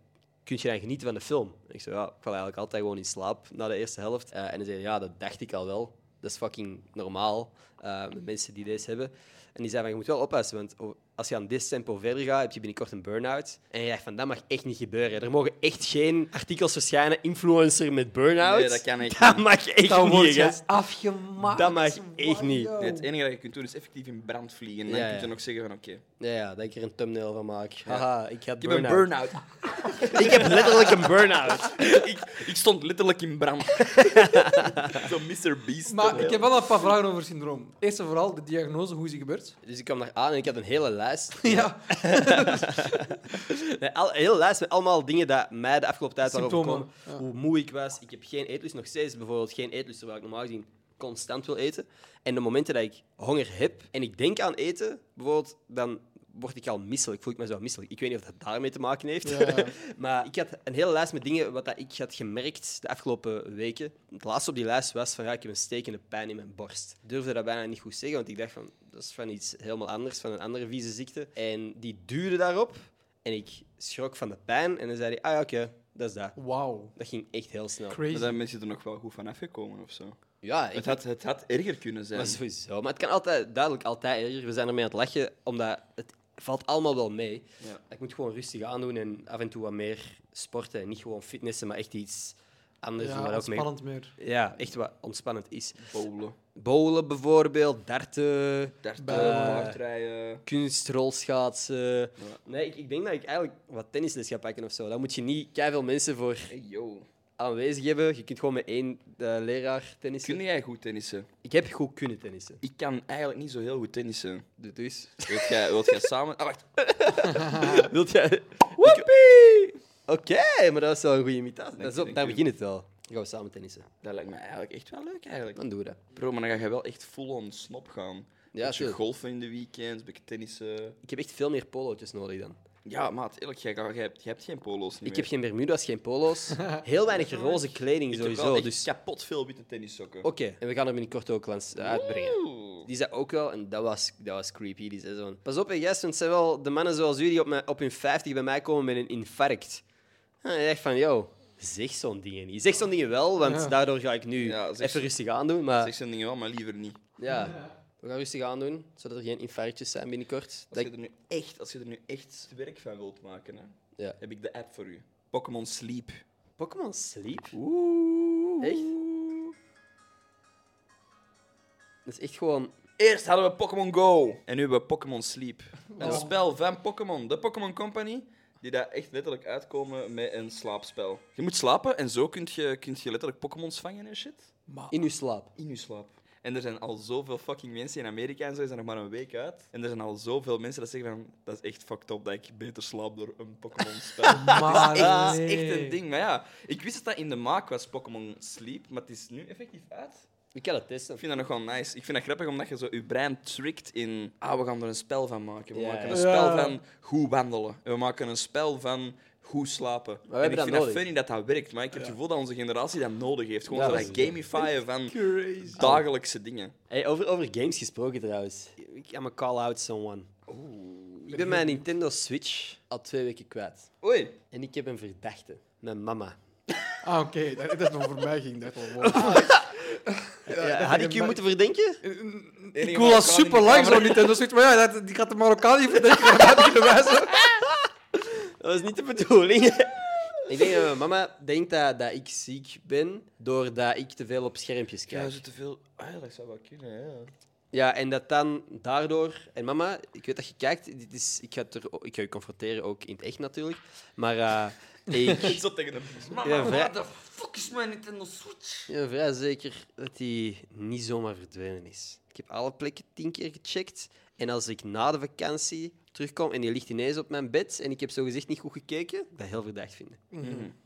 kun je dan genieten van de film? En ik zei, ja, ik val eigenlijk altijd gewoon in slaap na de eerste helft. Eh, en hij zei, ja, dat dacht ik al wel. Dat is fucking normaal, eh, met mensen die deze hebben. En die zei van, je moet wel oppassen, want o- als je aan dit tempo verder gaat, heb je binnenkort een burn-out. En je dacht van, dat mag echt niet gebeuren. Er mogen echt geen artikels verschijnen, influencer met burn-out.
Nee, dat kan echt
Dat
niet.
mag echt
Dan
niet,
word
gast.
je afgemaakt.
Dat mag echt niet.
Nee, het enige dat je kunt doen is effectief in brand vliegen. En dan
Oh. Ja, ja.
kun je nog zeggen van oké,
Ja, ja, dat ik er een thumbnail van maak. Haha, ik had
ik heb een
burn-out.
burn-out.
ik heb letterlijk een burn-out.
*laughs* ik, ik stond letterlijk in brand. Zo'n Mr. Beast.
Maar ik heb wel een paar vragen over syndroom. Eerst en vooral de diagnose, hoe is die gebeurd?
*laughs* Dus ik kwam daar aan en ik had een hele lijst.
*laughs* Ja,
Nee, al, heel lijst met allemaal dingen dat mij de afgelopen tijd waren
Symptomen,
overkomen. Hoe moe ik was. Ik heb geen eetlust. Nog steeds bijvoorbeeld geen eetlust, terwijl ik normaal gezien constant wil eten. En de momenten dat ik honger heb en ik denk aan eten, bijvoorbeeld, dan word ik al misselijk. Voel ik me zo misselijk. Ik weet niet of dat daarmee te maken heeft. *laughs* maar ik had een hele lijst met dingen wat dat ik had gemerkt de afgelopen weken. Het laatste op die lijst was van, ja, ik heb een stekende pijn in mijn borst. Ik durfde dat bijna niet goed zeggen, want ik dacht van, dat is van iets helemaal anders, van een andere vieze ziekte. En die duurde daarop. En ik schrok van de pijn en dan zei hij, ah ja, oké, dat is dat.
wauw.
Dat ging echt heel snel.
Maar
Crazy.
dan ben je er nog wel goed van afgekomen of zo.
Ja, ik
Het had, het had erger kunnen zijn.
maar sowieso. Maar het kan altijd, duidelijk altijd erger. We zijn ermee aan het lachen, omdat het valt allemaal wel mee.
Ja.
Ik moet gewoon rustig aandoen en af en toe wat meer sporten. En niet gewoon fitnessen, maar echt iets anders doen.
Ja,
Waar ook mee...
spannend *laughs* meer.
Ja, echt wat ontspannend is.
Bowlen,
Bowlen bijvoorbeeld, darten,
darten,
Eh.
paardrijden.
kunstrolschaatsen. Nee, ik, ik denk dat ik eigenlijk wat tennisles ga pakken of zo. Dan moet je niet veel mensen voor
Hey, yo.
aanwezig hebben. Je kunt gewoon met één eh, leraar tennissen.
Kun jij goed tennissen?
Ik heb goed kunnen tennissen.
Ik kan eigenlijk niet zo heel goed tennissen.
Dus.
Wilt jij, wilt jij samen... Ah, wacht. *laughs*
Wilt jij. Woepie! Oké, maar dat is wel een goede imitatie. Dat is
je,
op,
dank
daar
je.
begint het wel. Dan gaan we samen tennissen.
Dat lijkt me eigenlijk echt wel leuk, eigenlijk.
Dan doen we dat.
Bro, maar dan ga je wel echt full-on snop gaan.
Ja,
Ja, je
tuurlijk.
golfen in de weekends, beetje tennissen.
Ik heb echt veel meer polootjes nodig dan.
Ja, maat, eerlijk, jij, gaat- jij, hebt, jij hebt geen polo's niet
Ik heb
meer.
geen Bermuda's, geen
*laughs*
polo's. Heel weinig roze kleding
Ik heb wel
sowieso.
echt
Dus. Oh.
kapot veel witte tennissokken.
Oké, en we gaan er binnenkort ook langs eh, uitbrengen.
Oeh.
Die zei ook wel, en dat was, dat was creepy. Die zei zo van, Pas op, hè, gast, want het zijn wel de mannen zoals jullie op, mijn- op hun 50 bij mij komen met een infarct. En ik dacht van, yo, zeg zo'n dingen niet. Zeg zo'n dingen wel, want
Ja.
daardoor ga ik nu
Ja, zeg
even
zo-
rustig aandoen. Maar
Zeg zo'n dingen wel, maar liever niet.
ja, we gaan rustig aandoen, zodat er geen infarctjes zijn binnenkort.
Als
Dat
je,
ik-
er nu echt, als je er nu echt werk van wilt maken, hè,
Ja.
heb ik de app voor u. Pokémon Sleep.
Pokémon Sleep?
Oeh.
Echt? Dat is echt gewoon...
Eerst hadden we Pokémon Go. En nu hebben we Pokémon Sleep. Een spel van Pokémon, de Pokémon Company, die daar echt letterlijk uitkomen met een slaapspel. Je moet slapen en zo kun je, kun je letterlijk Pokémons vangen en shit.
In uw slaap.
In je slaap. En er zijn al zoveel fucking mensen in Amerika en zo is er nog maar een week uit. En er zijn al zoveel mensen dat zeggen van dat is echt fucked up dat ik beter slaap door een Pokémon
*laughs*
spel.
Ah,
Maar
echt,
nee.
is echt een ding. Maar ja, ik wist dat dat in de maak was, Pokémon Sleep, maar het is nu effectief uit.
Ik kan het testen.
Ik vind dat nog wel nice. Ik vind dat grappig omdat je zo je brein trickt in. Ah, we gaan er een spel van maken. We
Ja,
maken
ja.
een spel
Ja.
van goed wandelen. En we maken een spel van goed slapen.
hebben
en ik
dat
vind dat
nodig.
funny dat dat werkt, maar ik heb het gevoel dat onze generatie dat nodig heeft. Gewoon
Ja,
zo
dat
dat
is-
gamifieren van
Crazy.
dagelijkse dingen.
Hey, over, over games gesproken trouwens. Ik ga me call out someone. Ik ben mijn Nintendo Switch al twee weken kwijt.
Oei.
En ik heb een verdachte. Mijn mama.
Ah, oké. Dat, dat is nog voor mij ging dat wel. worden.
Ja, had ik u moeten verdenken?
Ik voel dat super lang zo niet. En dan zegt maar ja, dat, die gaat de Marokkaan niet verdenken. maar dat heb je bewijzen.
Dat was niet de bedoeling. *laughs* ik denk dat mijn mama denkt dat, dat ik ziek ben doordat ik te veel op schermpjes kijk.
Ja, ze te veel. Ah, ja, dat zou wel kunnen, ja.
Ja, en dat dan daardoor... En mama, ik weet dat je kijkt. Dit is, ik, ga het er, ik ga je confronteren, ook in het echt natuurlijk. Maar eh, ik
*laughs* Zo tegen de
ik ben vrij,
fuck is mijn Nintendo Switch?
ik ben vrij zeker dat die niet zomaar verdwenen is. Ik heb alle plekken tien keer gecheckt. En als ik na de vakantie terugkom en die ligt ineens op mijn bed en ik heb zogezegd niet goed gekeken, dat heel verdacht vinden.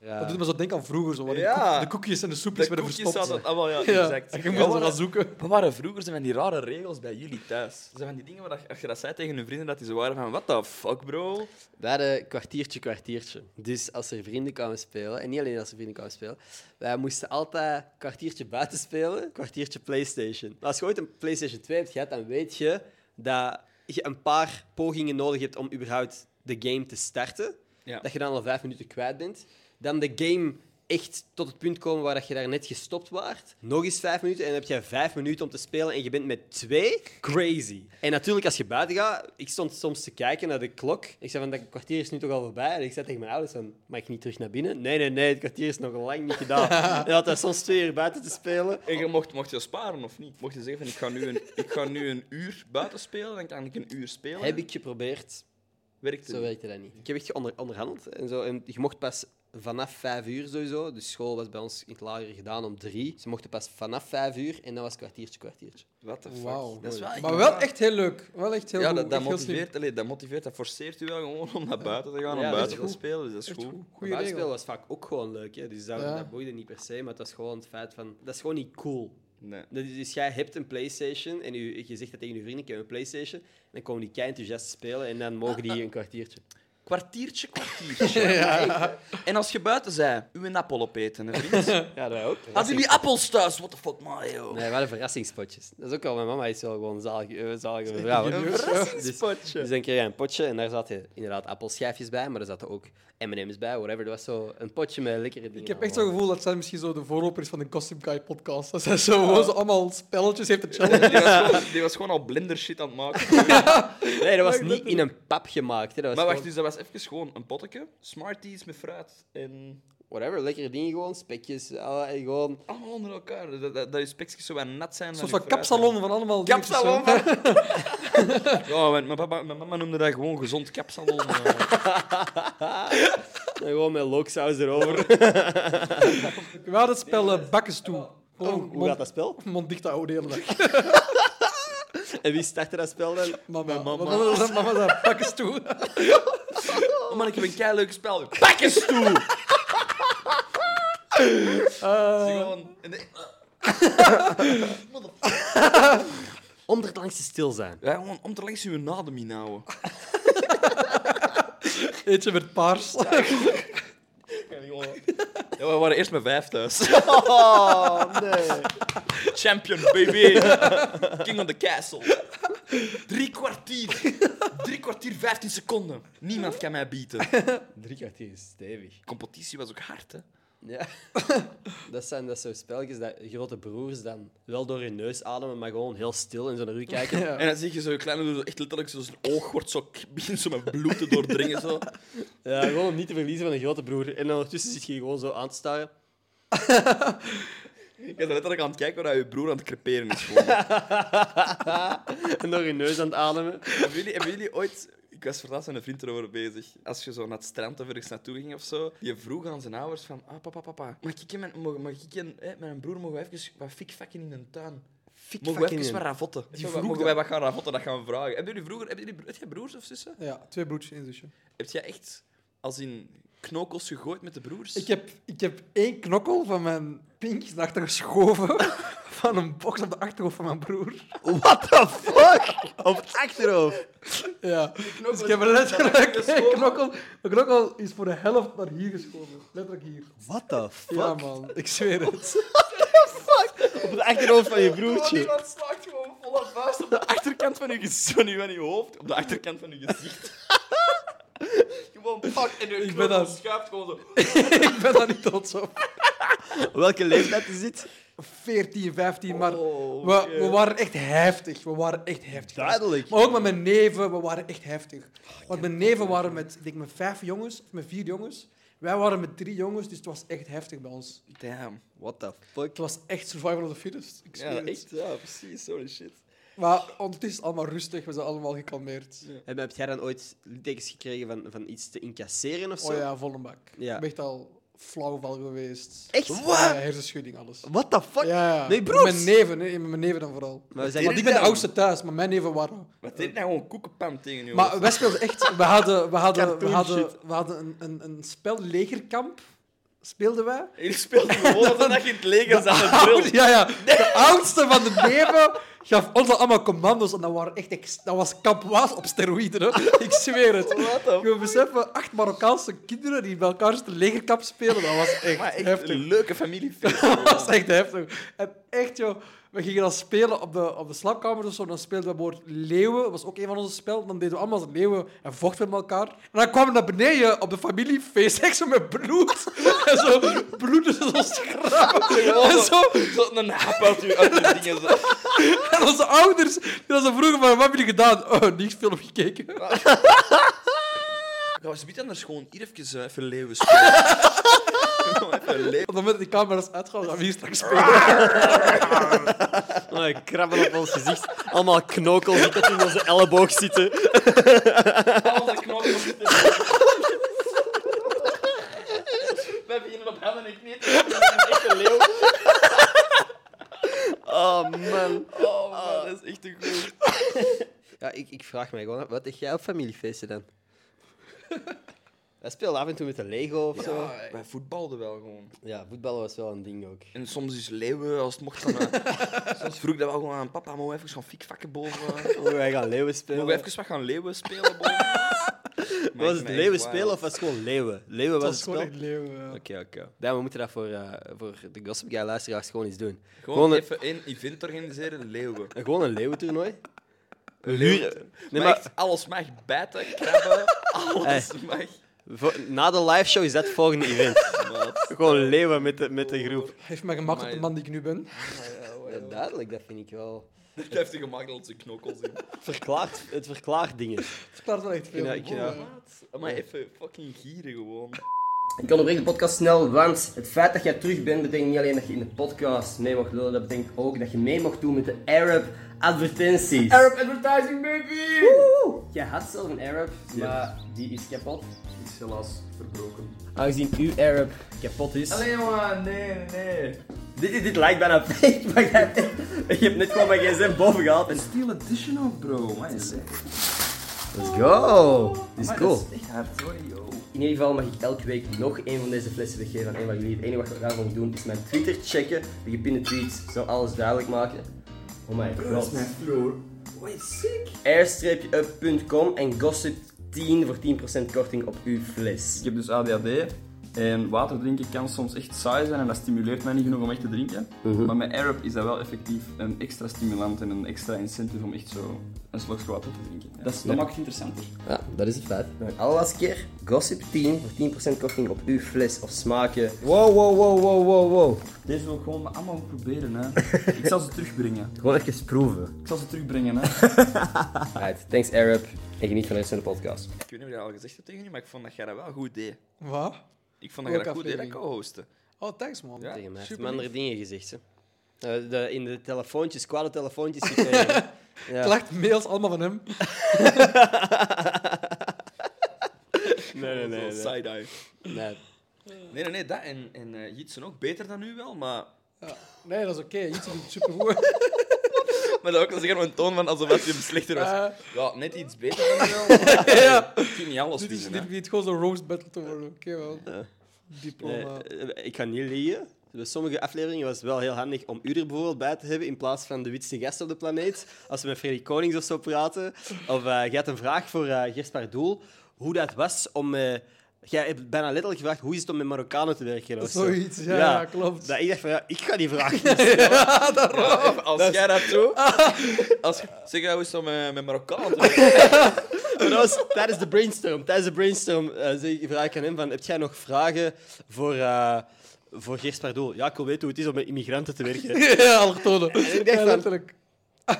Ja.
Dat doet me zo denken aan vroeger. Zo, waar die
Ja.
koek- de koekjes en de soepjes
De
werden
koekjes
verstopt.
hadden... Ah, wel, ja,
*laughs* Ja,
exact.
Je moet
Ja,
ze
maar-
gaan zoeken.
Wat waren vroeger zijn van die rare regels bij jullie thuis? Zijn van die dingen waar dat- als je dat zei tegen hun vrienden, dat die zo waren van, what the fuck, bro?
We hadden kwartiertje, kwartiertje. Dus als er vrienden kwamen spelen, en niet alleen als er vrienden kwamen spelen, wij moesten altijd kwartiertje buiten spelen, kwartiertje PlayStation. Maar als je ooit een PlayStation 2 hebt gehad, dan weet je dat je een paar pogingen nodig hebt om überhaupt de game te starten.
Ja.
Dat je dan al vijf minuten kwijt bent. Dan de game echt tot het punt komen waar dat je daar net gestopt waart. Nog eens vijf minuten en dan heb je vijf minuten om te spelen en je bent met twee. Crazy. En natuurlijk, als je buiten gaat, ik stond soms te kijken naar de klok. Ik zei van, dat kwartier is nu toch al voorbij. En ik zei tegen mijn ouders van, mag ik niet terug naar binnen? Nee, nee, nee, het kwartier is nog lang niet gedaan. en dan had hij soms twee uur buiten te spelen.
En je mocht, mocht je sparen of niet? Mocht je zeggen van, ik ga nu een, ik ga nu een uur buiten spelen, dan kan ik een uur spelen?
Heb ik geprobeerd,
Werkt het
zo werkte dat niet. Ik heb echt onder, onderhandeld en zo. En je mocht pas vanaf vijf uur sowieso. Dus school was bij ons in het lager gedaan om drie. Ze mochten pas vanaf vijf uur en dan was het kwartiertje, kwartiertje.
What the fuck?
Wauw.
Dat is wel echt
Maar wel
raar.
echt heel leuk. Wel echt heel
Ja,
goed.
dat, dat
Echt heel slim.
motiveert, allee, dat motiveert, dat forceert u wel gewoon om naar buiten te gaan,
Ja,
om
dat
buiten
is
te
goed.
spelen, dus dat is
Echt
goed.
goed. Goeie
Goeie spel
regel.
was vaak ook gewoon leuk. Hè? Dus dat,
Ja.
dat boeide niet per se, maar het was gewoon het feit van... Dat is gewoon niet cool.
Nee.
Dat is- dus jij hebt een Playstation en u, je zegt dat tegen je vrienden, ik heb een Playstation. En dan komen die kei enthousiast spelen en dan mogen
*laughs*
die een kwartiertje.
Kwartiertje, kwartiertje. *laughs* Echt, hè. En als je buiten zei, uw appel opeten, hè, *laughs* vriend.
Ja, wij ook.
Hadden jullie appels thuis? What the fuck, Mario?
Nee, we hadden verrassingspotjes. Dat is ook wel, mijn mama is wel gewoon zalige, eh, zalige vrouw. hè.
Een verrassingspotje.
Dus dan kreeg je een potje en daar zaten inderdaad appelschijfjes bij, maar er zaten ook M&M's bij, whatever. Dat was zo een potje met lekkere dingen.
Ik heb echt zo'n gevoel dat zij misschien zo de voorloper is van de Gossip Guy podcast. Dat zij zo, gewoon zo allemaal spelletjes heeft te challenge.
Die was, *laughs* gewoon, die was gewoon al blinder shit aan het maken.
allemaal. Nee, dat was niet in een pap gemaakt. Hè. Dat was
Maar wacht,
gewoon-
dus dat was even gewoon een potteke, Smarties met fruit en
Whatever, lekkere dingen gewoon, spekjes, eh, gewoon
allemaal onder elkaar. Dus Dat, dat, dat je spekjes zo wat nat zijn.
Een
van
soort
die
van
fruit.
kapsalon van allemaal dingetjes, zo.
Kapsalon! *laughs* Ja, mijn, mijn, papa, mijn mama noemde dat gewoon gezond *laughs* kapsalon. eh.
En gewoon met loksaus erover.
We hadden het spel eh, Bakkes toe. Gewoon
Hoe gaat dat spel?
mond dicht houden de hele dag.
En wie startte dat spel dan?
Mama, mama, mama, mama, zei, Bakkes toe.
Oh man, ik heb een kei leuk spel. Pak eens *laughs* toe!
Eh,
Ze gewoon- en de-
Om er langs te stil zijn.
Ja, gewoon om te langs uw nou. nadem inhouden.
eentje werd paars.
Ja, we waren eerst met vijf thuis. *laughs*
Oh, nee.
Champion, baby. King of the castle. Drie kwartier. Drie kwartier, vijftien seconden. Niemand kan mij bieden.
Drie kwartier is stevig.
Competitie was ook hard, hè?
Ja. *laughs* dat zijn dat soort spelletjes dat grote broers dan wel door hun neus ademen, maar gewoon heel stil in zo'n rug *laughs* kijken.
Ja.
En dan zie je zo'n kleine broer zo echt letterlijk zo zijn oog wordt zo *laughs* begint zo met bloed te doordringen zo.
Ja, gewoon om niet te verliezen van een grote broer. En ondertussen zit je gewoon zo aan te staren.
Je bent letterlijk aan het kijken waar je broer aan het creperen is. Gewoon.
En door je neus aan het ademen.
hebben, jullie, hebben jullie ooit... Ik was verlaatst met een vriend erover bezig. Als je zo naar het strand of ergens naartoe ging of zo, je vroeg aan zijn ouders van, ah, papa, papa, mag ik en mijn, mag, mag ik en, hè, mijn broer mogen we even wat fikfakken in de tuin?
Fik
Mogen we
fucking in.
even wat ravotten? Die
Ja, maar
vroegen
mogen
wij
we-
wat gaan ravotten, dat gaan we vragen. Hebben jullie vroeger... Hebben jullie, heb jij broers of zussen?
Ja, twee broertjes en zusje.
Heb jij echt als in knokels gegooid met de broers?
Ik heb, ik heb één knokkel van mijn pink naar achter geschoven *laughs* van een box op de achterhoofd van mijn broer.
What the fuck? *laughs* Op het achterhoofd.
Ja. Dus ik heb er letterlijk *laughs* een knokkel. De knokkel is voor de helft naar hier geschoven. Letterlijk hier.
What the fuck?
Ja, man. Ik zweer *laughs* het.
Op het achterhoofd van je broertje.
Iemand slaat gewoon volle vuist op de achterkant van je, gez- van je, van je hoofd, op de achterkant van je gezicht. *laughs* gewoon pak en je
ben
knokkel
dat-
schuift gewoon zo.
*laughs* ik ben daar niet
*laughs*
trots op.
Welke leeftijd is dit?
14, 15, maar
Oh,
we, we
shit.
waren echt heftig. We waren echt heftig.
Duidelijk.
Maar ook met mijn neven, we waren echt heftig. Want mijn neven waren met, ik denk, met vijf jongens, of met vier jongens. Wij waren met drie jongens, dus het was echt heftig bij ons.
Damn.
What the fuck?
Het was echt survival of the fittest. Ik zweer
Ja,
het.
echt, ja, precies. Sorry, shit.
Maar ondertussen is het allemaal rustig, we zijn allemaal gekalmeerd.
En heb jij dan ooit liedtekens gekregen van, van iets te incasseren of zo?
Oh ja, volle bak.
Ja.
Ik ben echt al flauw van geweest.
Echt?
Ja,
What?
hersenschudding, alles.
What the fuck?
Ja, ja.
Nee,
Met
broers.
Mijn neven, nee, met mijn neven dan vooral.
Maar we zijn
Want ik ben de oudste thuis, maar mijn neven waren...
Wat deed nou gewoon koekenpan tegen je
Maar wij speelden echt... We hadden, we hadden, we
Cartoon
hadden,
shit.
we hadden een, een, een spel, legerkamp, speelden wij.
Jullie speelden
*laughs*
gewoon alsof *laughs* dat je in het leger zat met bril.
Oud- ja, ja. De oudste van de neven gaf ons al allemaal commando's en dat, waren echt ex- dat was kampwaas op steroïden. Hè. Ik zweer het. Je moet beseffen, acht Marokkaanse kinderen die bij elkaar zitten legerkamp spelen, dat was echt,
Maar echt
heftig.
*laughs* een leuke
*laughs*
familiefeest.
Dat was echt heftig. En echt, joh, we gingen dan spelen op de, op de slaapkamer of zo. Dan speelden we woord leeuwen. Dat was ook een van onze spel. Dan deden we allemaal als leeuwen en vochten we met elkaar. En dan kwamen we naar beneden op de familiefeest. Echt zo met bloed. *laughs* en zo bloed is ons schrapen. En zo.
Zo'n een hap uit je, uit je dingen. Zo.
En onze ouders die ons dan vroegen: van, wat hebben jullie gedaan? Oh, niks film gekeken.
Gaan we zometeen anders gewoon hier even, eh, even leeuwen spelen? *laughs* Gewoon even leeuwen.
Op het moment dat die camera's uitgaan, gaan we hier
Ah,
straks spelen.
Oh, krabben op ons gezicht. Allemaal knokels die tot in onze elleboog zitten.
Al de knokken zitten. Wij beginnen op handen en knieën. Een echte leeuw.
Oh, man.
Oh, man, dat is echt een goed.
Ja, ik, ik vraag mij gewoon, af, wat heb jij op familiefeesten dan? Wij speelden af en toe met de Lego of zo.
Wij voetbalden wel gewoon.
Ja, voetballen was wel een ding ook.
En soms is leeuwen, als het mocht, dan... eh,
*laughs*
soms vroeg ik dat wel gewoon aan papa, mogen we even gaan fikvakken boven? eh?
Oh, wij gaan leeuwen spelen.
Mogen we even wat gaan leeuwen spelen
*laughs*
boven?
Was het leeuwen spelen of was het gewoon leeuwen? Leeuwen was,
Dat is
het
gewoon
spel.
echt leeuwen.
Oké, oké. Ja, we moeten dat voor, eh, voor de Gossip Guy luisteraars gewoon eens doen.
Gewoon,
Gewoon een-
even één event organiseren, leeuwen.
Gewoon een leeuwentoernooi.
Leeuwen.
Nee,
Nee,
maar-
maar echt, alles mag bijten,
*laughs*
krabben, alles mag.
Voor- na de liveshow is dat het volgende event. *laughs* gewoon leeuwen met de, met de groep.
Heeft mij gemaakt op de
Amai.
man die ik nu ben.
Ja, duidelijk, dat vind ik wel.
Dat heeft hij gemakkelijk zijn knokkels in.
Verklaart, het verklaart dingen.
Het verklaart wel echt veel.
Ja, ik- eh, ja.
Maar even fucking gieren gewoon.
Ik onderbreek de podcast snel, want het feit dat jij terug bent, betekent niet alleen dat je in de podcast mee mag lullen, dat betekent ook dat je mee mag doen met de Arab advertenties. Arab advertising, baby! Jij had zelf een Arab, maar die is kapot.
Is helaas verbroken.
Aangezien uw Arab kapot is.
Nee jongen, nee, nee.
Dit, dit lijkt bijna *laughs* fake, maar jij, je hebt net gewoon mijn gsm boven gehaald. en-
Steel edition ook bro, man. is
Let's go! Dit is cool.
echt hard hoor, yo.
In ieder geval mag ik elke week nog een van deze flessen weggeven aan een van jullie. Het enige wat we daarvoor moeten doen is mijn Twitter checken. De gepinde tweets zal alles duidelijk maken. Oh my god.
floor. Wait, sick.
air-up.com en gossip10 voor 10% korting op uw fles.
Ik heb dus ADHD. En water drinken kan soms echt saai zijn en dat stimuleert mij niet genoeg om echt te drinken. Maar met Arab is dat wel effectief een extra stimulant en een extra incentive om echt zo een slokje water te drinken. Ja. Dat, is- dat maakt het interessanter.
Ja, dat is het feit. Mijn allerlaatste keer, gossip10 voor 10% korting op uw fles of smaken. Wow, wow, wow, wow, wow, wow.
Deze wil ik gewoon maar allemaal proberen. Hè. ik zal ze terugbrengen.
Gewoon even proeven.
Ik zal ze terugbrengen. Hè.
Alright, thanks Arab. En geniet van de rest van de podcast.
Ik weet niet of je dat al gezegd hebt tegen u, maar ik vond dat jij dat wel goed deed.
Wat?
Ik vond dat jij dat
Welke
goed deed, dat
aflevering?
co-hosten.
Oh, thanks man.
Ja.
Tegen mij heeft
Super
hem andere dingen gezegd. Hè. Eh, de, in de telefoontjes, kwade telefoontjes
*laughs*
gekregen. Ja.
Klacht mails allemaal van hem.
Nee, nee, nee. nee.
Side-eye.
Nee.
Nee, nee, nee, dat en, en eh, Jitsen ook beter dan u wel, maar...
*laughs* Nee, dat is oké. Iets doet het supergoed.
Maar dat ook als ik een toon van alsof het hem slechter was.
Eh.
ja, net iets beter dan
*laughs*
wel. maar
ja.
Ik vind niet alles
Dit is
wiezen,
dit
hè.
begint gewoon zo'n roast battle te worden. Oké, wel. Diploma.
Eh, ik ga niet liegen. Bij sommige afleveringen was het wel heel handig om u er bijvoorbeeld bij te hebben in plaats van de witste gast op de planeet. Als we met Freddy Konings of zo praten. Of eh je had een vraag voor eh Gaspar Doel. Hoe dat was om... eh, jij hebt bijna letterlijk gevraagd hoe is het om met Marokkanen te werken of zo.
Zoiets, ja, ja, klopt.
Dat ik dacht van, ja, ik ga die vraag niet stellen.
Ja, als jij dat doet...
Ah.
Als, zeg, hoe is dat eh, met, met Marokkanen?
Maar dat was tijdens de brainstorm. Tijdens de brainstorm eh, zei ik- vraag ik aan hem van, heb jij nog vragen voor, eh voor Gaspar Doel? Ja, ik wil weten hoe het is om met immigranten te
*laughs*
werken.
ja, allochtonen.
ik dacht
Ja,
van-
letterlijk.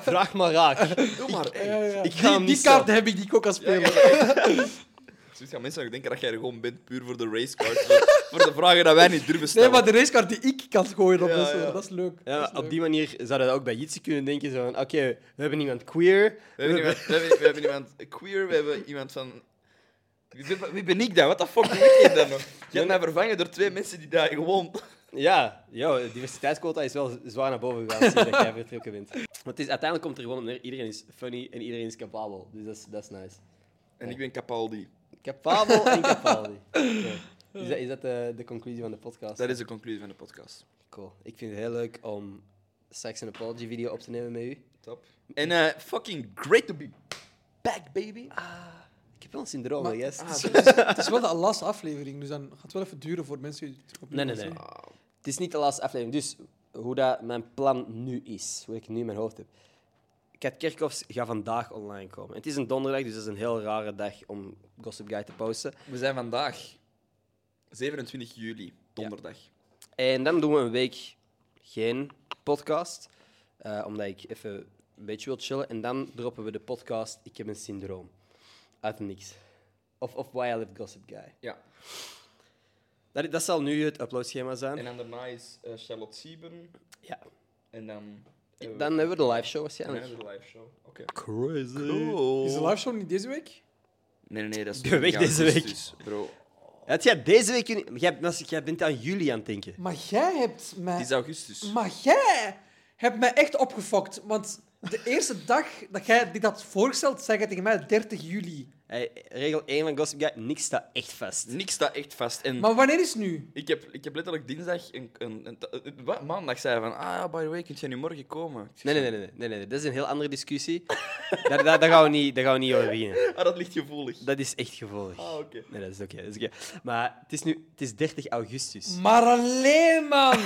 Vraag maar raak.
Doe maar, echt.
Ja, ja.
Ik ga
Die-
hem
die
niet
kaart
stellen.
heb ik die ik ook kan spelen.
Zoiets gaan mensen nog denken dat jij er gewoon bent puur voor de racecard. Voor, voor de vragen dat wij niet durven
Nee,
stellen.
maar de racekaart die ik kan gooien op
Ja,
mensen,
ja.
dat is leuk.
Ja,
dat is
maar op
leuk.
die manier zouden we ook bij Jitsi kunnen denken. zo van, Oké, we hebben iemand queer.
we, hebben iemand, we, hebben, we hebben iemand queer, we hebben iemand van... Wie ben, wie ben ik dan? Wat de fuck doe ik hier dan *laughs* nog? Je hebt mij vervangen door twee mensen die daar gewoon...
Ja, yo, de diversiteitsquota is wel zwaar naar boven gegaan sinds dat jij vertrokken bent. *laughs* Want het is, uiteindelijk komt er gewoon op neer, iedereen is funny en iedereen is capabel. Dus dat is, dat is nice.
En ik ben Capaldi.
Capabel en *laughs* capabel. Is dat, is dat eh, de, de conclusie van de podcast?
Dat is de conclusie van de podcast.
Cool. Ik vind het heel leuk om Sex and Apology video op te nemen met u.
Top. En eh, fucking great to be back, baby.
Ik heb wel een syndroom, I guess.
Ah, het, is, het is wel de laatste aflevering, dus dan gaat het wel even duren voor mensen die het terug opnieuw
Nee, nee,
gaan
nee.
zien.
Het is niet de laatste aflevering. Dus hoe dat mijn plan nu is, hoe ik het nu in mijn hoofd heb. Kat Kerkhoffs gaat vandaag online komen. Het is een donderdag, dus dat is een heel rare dag om Gossip Guy te posten.
We zijn vandaag 27 juli, donderdag.
En dan doen we een week geen podcast, eh, omdat ik even een beetje wil chillen. En dan droppen we de podcast Ik heb een syndroom. Uit het niks. Of, of Why I Left Gossip Guy.
Ja.
Dat, dat zal nu het uploadschema
En
zijn.
dan daarna is eh, Charlotte Sieben.
Ja.
En dan... hebben we-
Dan hebben we de live show
dan
waarschijnlijk.
hebben we de live show. Oké.
Crazy.
Cool.
Is de live show niet deze week?
Nee, nee, nee, dat is
De week
20
deze week.
augustus, Bro,
Had jij deze week kunnen... Jij, was- jij bent aan jullie aan het denken.
Maar jij hebt mij...
het is augustus.
Maar jij hebt mij echt opgefokt. Want de *laughs* eerste dag dat jij dit had voorgesteld, zei jij tegen mij 30 juli.
Hey, regel 1 van Gossip Guy, niks staat echt vast.
Niks staat echt vast. En
Maar wanneer is het nu?
ik, heb, ik heb letterlijk dinsdag een, een, een, een- wat? maandag zei hij van, ah ja, by the way, kunt jij nu morgen komen? Ik zeg,
Nee nee, nee, nee, nee, nee, nee. Dat is een heel andere
*laughs*
discussie. daar, daar, daar gaan we niet, daar gaan we niet over beginnen.
Ah, dat ligt gevoelig.
Dat is echt gevolg.
Ah, oké.
Nee, dat is oké. dat is oké. Maar het is nu het is 30
Mm.
augustus.
Maar alleen, *laughs* man!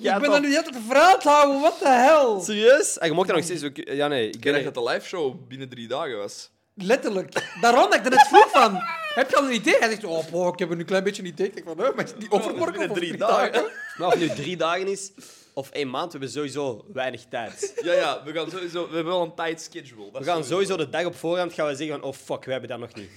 Ja,
ik ben
toch?
dat nu de hele tijd verhaal te houden, wat de hel!
Serieus? Ah, je mocht er nog steeds... ook- Ja, nee. Ik
Ik dacht
ben
dat de live show binnen drie dagen was.
Letterlijk. Daarom dat ik er net vroeg *laughs* van. Heb je al een idee? Hij zegt, oh, boh, ik heb er nu een klein beetje een idee. Ik denk van, hè, maar is die overmorgen
binnen
of
drie
drie dagen?
Maar of het nu drie dagen is of één maand, we hebben sowieso weinig tijd.
Ja, ja, we, gaan sowieso, we hebben wel een tight schedule.
We gaan sowieso de dag op voorhand gaan we zeggen van... Oh, fuck, we hebben dat
*laughs*
nog niet.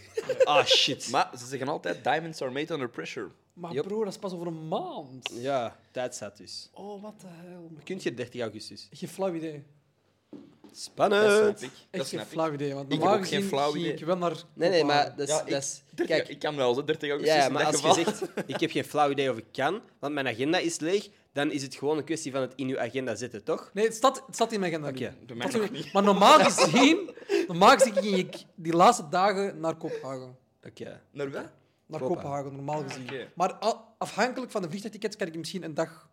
Ah, shit.
Maar ze zeggen altijd, diamonds are made under pressure.
Maar
Yep.
bro, dat is pas over een maand.
Ja, tijd staat dus.
Oh, wat de hel.
Kunt je 30 augustus?
Geen flauw idee.
Dat
Spannend.
snap ik. Dat
Echt geen
snap ik.
flauw idee. Want
Ik heb
normaal
ook geen
gezien
flauw
ging
idee.
Ik wel naar
Nee, nee, maar dat is...
Ja, ik,
dat is-
30
kijk,
ik kan wel, zo 30 augustus
ja,
in
maar
dat
als
geval.
je zegt, *laughs* ik heb geen flauw idee of ik kan, want mijn agenda is leeg, dan is het gewoon een kwestie van het in uw agenda zetten, toch?
Nee, het staat, het staat in mijn agenda.
Oké,
bij mij
Dat is-
nog niet.
Maar normaal gezien, *laughs* normaal gezien ging ik die laatste dagen naar Kopenhagen.
Oké.
Naar wat?
Naar
Kopenhagen.
Kopenhagen, normaal gezien.
oké.
Maar a- afhankelijk van de vliegtuigtickets kan ik misschien een dag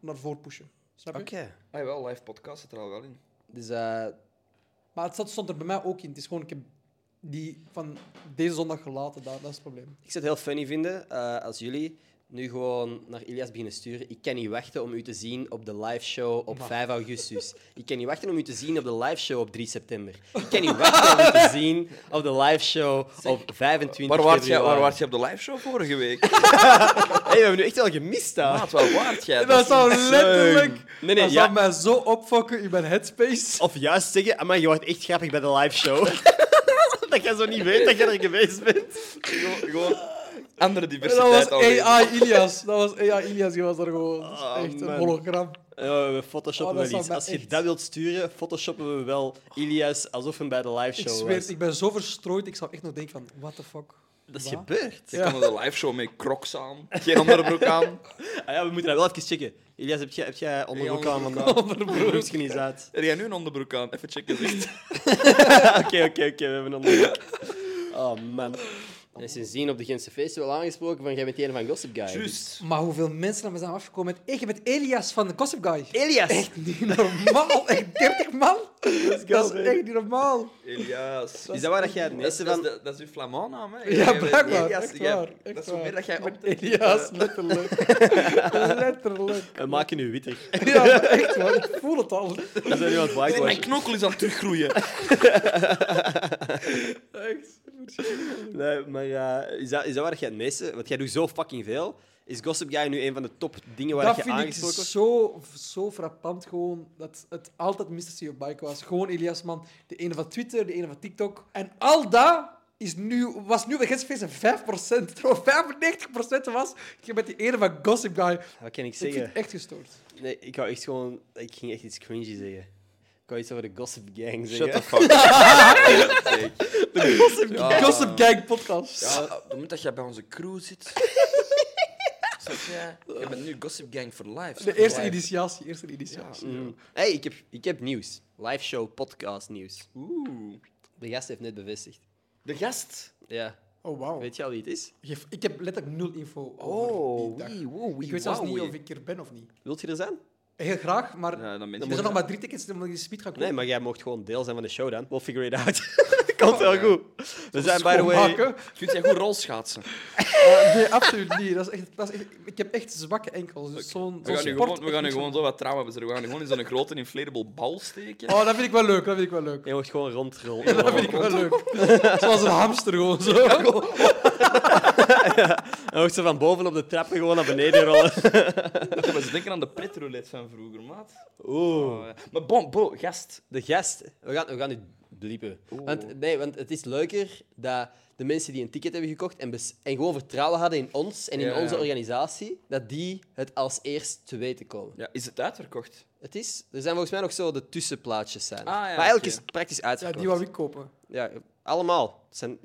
naar voren pushen. Snap je?
Oké.
Ah, wel, live podcast zit er al wel in.
Dus eh,
Maar het zat- stond er bij mij ook in. Het is gewoon, ik heb die van deze zondag gelaten daar. Dat is het probleem.
ik zou het heel funny vinden eh, als jullie nu gewoon naar Ilias beginnen sturen. Ik kan niet wachten om u te zien op de live show op 5 augustus. Ik kan niet wachten om u te zien op de live show op 3 september. Ik kan niet wachten om u te zien op de live show op 25
Waar waart jij
februari.
waar waart jij op de live show vorige week?
Hey, we hebben nu echt wel gemist, daar.
Maat, waar waart
*laughs*
jij?
Dat zou
is insane.
letterlijk...
Nee, nee,
dat
ja.
zou mij zo opfokken in mijn headspace.
Of juist zeggen, maar je wordt echt grappig bij de live show. *laughs* dat jij zo niet weet dat jij er geweest bent.
Gewoon, gewoon andere
Dat
diversiteit
was
alweer.
AI Ilias. Dat was AI Ilias. Die was er gewoon. Dat is
Ah,
echt een
man.
hologram.
we photoshoppen
Oh,
wel
dat zou
iets.
mij
Als je
echt-
dat wilt sturen, photoshoppen we wel Ilias alsof hem bij de live
Ik
show
zweer,
was.
het, ik ben zo verstrooid, ik zou echt nog denken van, what the fuck.
Dat is gebeurd. Ik
Ja.
kan er een live show mee crocs aan, geen andere broek aan.
Ah ja, we moeten dat wel even checken. Elias, heb jij, heb jij onderbroek
Hey,
aan vandaag? Onderbroek. is niet
*laughs*
uit.
Er jij nu een onderbroek aan? Even checken. Zegt.
Ah, Oké, oké, oké, we hebben een onderbroek. Oh, man.
Hij is sindsdien op de Gentse feesten wel aangesproken van jij bent die ene van Gossip Guy.
*laughs* Juist.
Maar hoeveel mensen naar me zijn afgekomen met... "Hey, je bent Elias van de Gossip Guy.
Elias!
Echt niet normaal. Echt 30 man. dat is echt niet normaal.
Elias.
is dat waar dat jij het
Dat is,
meeste
dat,
van...
is, de- dat is uw Flamand naam, hè?
Ja,
Jij bent
blijkbaar.
Elias,
echt
jij-
waar. echt
Dat is hoe
waar.
meer dat jij op
Elias, letterlijk. *laughs* letterlijk.
Eh, We maken nu witter.
Ja, maar echt man. Ik voel het al.
We zijn nu aan het
Nee, mijn
whitewashen.
knokkel is aan het *laughs* teruggroeien. Ah,
Echt.
Nee, maar eh, is, dat, is dat waar dat jij het meeste... Want jij doet zo fucking veel. Is Gossip Guy nu een van de top dingen waar
Dat
je
vind ik dus-
aangesproken wordt?
zo, zo frappant gewoon, dat het altijd Mr. CEO Bike was. Gewoon Elias Man, de ene van Twitter, de ene van TikTok. En al dat is nu, was nu op de gidsfeest een 5%, *laughs* terwijl 95% was je bent die ene van Gossip Guy.
Wat kan ik
Ik vind
zeggen?
het echt gestoord.
Nee, ik wou echt gewoon... Ik ging echt iets cringy zeggen. Ik wou iets over de Gossip Gang zeggen.
Shut
*laughs*
the fuck up. Ja.
Gossip Gang podcast.
Ja, op het moment dat jij bij onze crew *laughs* zit... Snap jij? Je bent nu Gossip Gang for life.
De eerste initiatie, eerste initiatie.
Mm. Hey, ik heb, ik heb nieuws. Live show, podcast nieuws.
Oeh.
De gast heeft net bevestigd.
De gast.
Ja.
Oh, wauw.
Weet je al wie het is?
Geef- Ik heb letterlijk nul info over die
Oh,
dag.
wee, wow, wee,
Ik weet zelfs
wow,
niet
wee.
of ik er ben of niet.
Wilt je er zijn?
Heel graag, maar
Ja, dan ben
er
je
zijn nog maar drie tickets, dan moet ik die speed gaan kopen.
Nee, maar jij mocht gewoon deel zijn van de show dan. We'll figure it
*laughs*
out. *laughs* Komt wel goed. We zijn, by the way...
Schoonmaken.
Kunt jij goed rolschaatsen?
Eh, nee, absoluut niet. Dat is echt, dat is echt- ik heb echt zwakke enkels. Dus zo'n,
We
zo'n
gaan nu
sport...
gewoon, we gaan nu gewoon zo wat trauma bezorgen. We gaan nu gewoon in zo'n grote inflatable bal steken.
Oh, dat vind ik wel leuk. Dat vind ik wel leuk.
Je mocht gewoon rondrollen.
dat vind ik wel leuk. Zoals een hamster gewoon zo.
Hij mocht ze van boven op de trappen gewoon naar beneden
*laughs*
rollen.
Dat was denken aan de pretroulette van vroeger, maat.
Oeh.
Oh, ja. Maar bon, bo, gast.
De gast. We gaan, we gaan nu bliepen. Want, nee, want het is leuker dat de mensen die een ticket hebben gekocht en, bes- en gewoon vertrouwen hadden in ons en in
Ja,
onze
ja.
organisatie, dat die het als eerst te weten komen.
Ja, is het uitverkocht?
Het is, er zijn volgens mij nog zo de tussenplaatsjes zijn. er.
Ah, ja,
maar eigenlijk
oké.
is het praktisch
Ja,
uitverkocht.
die wou ik kopen.
Ja, allemaal. Het zijn...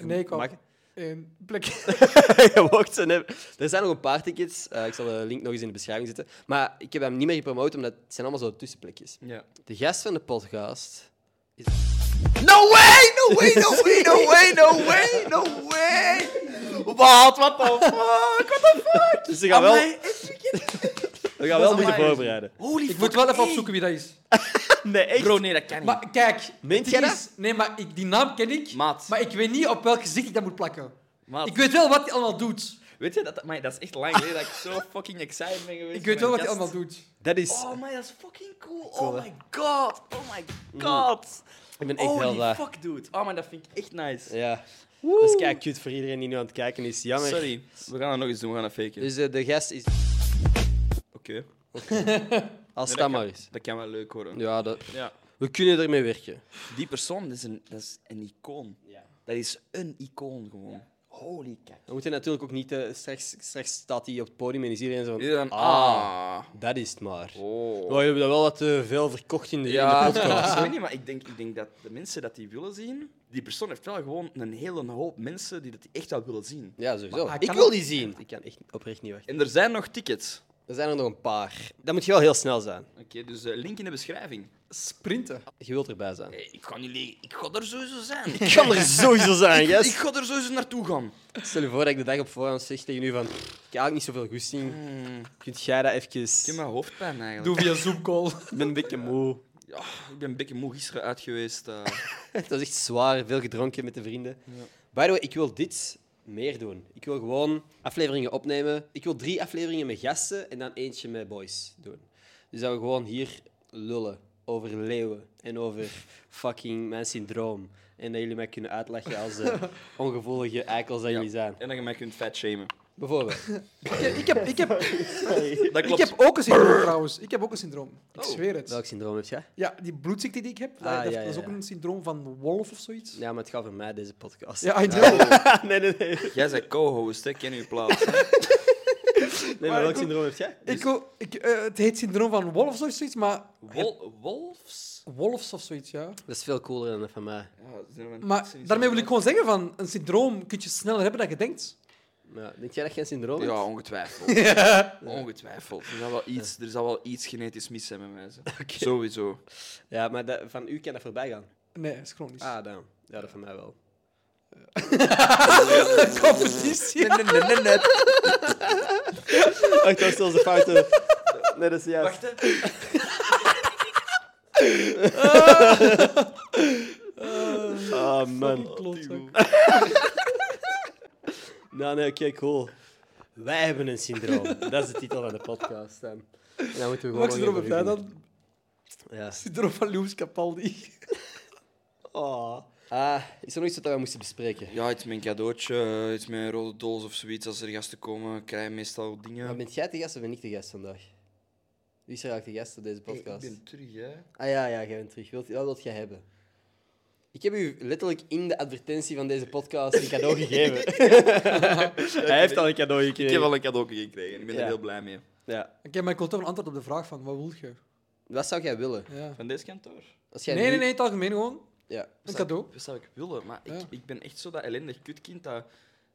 Nee, ik
Mag-
wou één plek.
*laughs* Je mocht ze hebben. Er zijn nog een paar tickets. Eh, ik zal de link nog eens in de beschrijving zetten. Maar ik heb hem niet meer gepromoot, omdat het zijn allemaal zo tussenplekjes.
Ja.
De gast van de podcast...
No way! No way! No way! No way! No way! No way! Wat? Wat the fuck? What the fuck?
Dus we gaan wel,
Amai,
we gaan wel moeten
amai.
voorbereiden.
Holy
*laughs* Ik moet wel even opzoeken wie dat is.
Nee, echt?
Bro, nee, dat kan niet.
Maar kijk,
Meent
het
jij
is- Nee, maar ik, die naam ken ik.
Maat.
Maar ik weet niet op welk gezicht ik dat moet plakken.
Maat,
Ik weet wel wat hij allemaal doet.
Weet je, dat, maar dat is echt lang geleden dat ik zo fucking excited ben geweest.
Ik weet wel
voor
wat
mijn
hij
gast.
allemaal doet.
Dat is...
Oh my, dat is fucking cool. Oh my god. Oh my god.
Ik ben echt
Holy
heel blij.
fuck, dude. Oh man, dat vind ik echt nice.
Ja. Dat is kijk cute voor iedereen die nu aan het kijken is. Jammer.
Sorry, we gaan dat nog eens doen. We gaan dat faken.
Dus eh, de gast is...
Oké.
Als
Nee,
dat
dat
maar
kan.
is.
Dat kan wel leuk horen.
Ja, dat...
Ja.
we kunnen ermee werken.
Die persoon, dat is een, dat is een icoon. Dat is een icoon gewoon. Holy kijk.
We moeten natuurlijk ook niet... eh, straks, straks staat hij op het podium en is iedereen zo van...
Iedereen,
Ah,
ah.
dat is het maar.
Oh.
Oh, je hebt dat wel wat te veel verkocht in de,
Ja,
in de podcast.
ik weet niet, maar ik denk, ik denk dat de mensen dat die willen zien, die persoon heeft wel gewoon een hele hoop mensen die dat die echt wel willen zien.
Ja, sowieso.
Maar hij
Ik
kan
wil
ook-
die zien. Ik kan echt oprecht niet wachten.
En er zijn nog tickets.
Er zijn er nog een paar. Dat moet je wel heel snel zijn.
Oké, dus eh, link in de beschrijving.
Sprinten.
Je wilt erbij zijn.
Hey, ik ga niet liegen, ik ga er sowieso zijn. Ik,
Ik kan er sowieso *laughs* zijn,
ik
yes.
ga er sowieso naartoe gaan.
Stel je voor dat ik de dag op voorhand zeg tegen u van... "Pff, Ik heb eigenlijk niet zoveel goesting. Kunt jij dat
Ik heb
even...
mijn hoofdpijn eigenlijk.
Doe via Zoom call.
Ik ben een beetje moe.
Ja, *laughs* ik ben een beetje moe gisteren uit geweest. eh.
*laughs* Het was echt zwaar. Veel gedronken met de vrienden. By the way, ik wil dit meer doen. Ik wil gewoon afleveringen opnemen. Ik wil drie afleveringen met gasten en dan eentje met boys doen. Dus dat we gewoon hier lullen over leeuwen en over *laughs* fucking mijn syndroom. En dat jullie mij kunnen uitlachen als *laughs* de ongevoelige eikels dat jullie zijn.
en dat je mij kunt fat shamen.
Bijvoorbeeld.
Ik heb, ik heb, ik heb,
Dat
*laughs* ik
klopt.
heb ook een syndroom trouwens. Ik heb ook een syndroom. Ik
Oh.
zweer het.
*laughs* Welk syndroom heb jij?
Ja, die bloedziekte die ik heb, dat,
Ah,
dat-
ja,
dat is
ja,
ook
ja.
een syndroom van Wolf of zoiets. Ja,
Ja, maar het gaat voor mij, deze *laughs* podcast.
I know.
nee, nee, nee.
Jij bent co-host, hè? Ken je plaats.
Nee, maar
Maar
welk
ik-
syndroom heb jij?
Ik, wou- ik, eh, het heet syndroom van Wolfs of zoiets, maar...
Wol- wolfs?
Wolfs of zoiets, ja.
Dat is veel cooler dan dat van mij.
Ja, ze zijn mijn
Maar
toetsen niet
daarmee
zo
wil ik
goed.
gewoon zeggen van, een syndroom kun je sneller hebben dan je denkt.
Ja, denk jij dat geen syndroom hebt?
Ja, ongetwijfeld. *laughs* Ongetwijfeld. Er zal wel iets, er zal wel iets genetisch mis zijn met mij. zo.
*laughs*
Sowieso.
Ja, maar dat- van u kan dat voorbij gaan.
Nee, is chronisch. *laughs*
Ah, dan. Ja, dat van mij *laughs* wel.
Competitie.
Nee, nee, nee, nee.
Wacht, dat is onze fouten. Nee, dat is juist.
Wacht,
*laughs* Ah, man. Nou, nee, oké, cool. Wij hebben een syndroom. Dat is de titel van de podcast. Dan, en dan moeten we gewoon...
Welk syndroom heb jij dan?
Ja.
Syndroom van Lewis
*laughs*
Capaldi.
Oh. Ah, is er nog iets wat we moesten bespreken?
Ja, iets met een cadeautje, eh, iets met een rode doos of zoiets. Als er gasten komen, krijg je meestal dingen.
Maar bent jij de gast of ben ik de gast vandaag? Wie is er eigenlijk de gast op deze podcast?
terug, hè.
Ah ja, ja, jij bent terug. Wilt, wat wilt jij hebben? Ik heb u letterlijk in de advertentie van deze podcast een *laughs* cadeau
*laughs*
gegeven. Hij heeft al een cadeau gekregen.
Ik heb al een cadeautje gekregen. Ik ben
Ja.
er heel blij mee.
Ja.
Oké, maar ik wil toch een antwoord op de vraag van, wat wil je?
Wat zou jij willen?
Ja.
Van deze kantoor?
Als jij
Nee, nee,
nu-
nee, in het algemeen gewoon.
Ja.
Een cadeau.
Dat zou ik willen, maar ik,
Ja.
ik ben echt zo dat ellendig kutkind dat,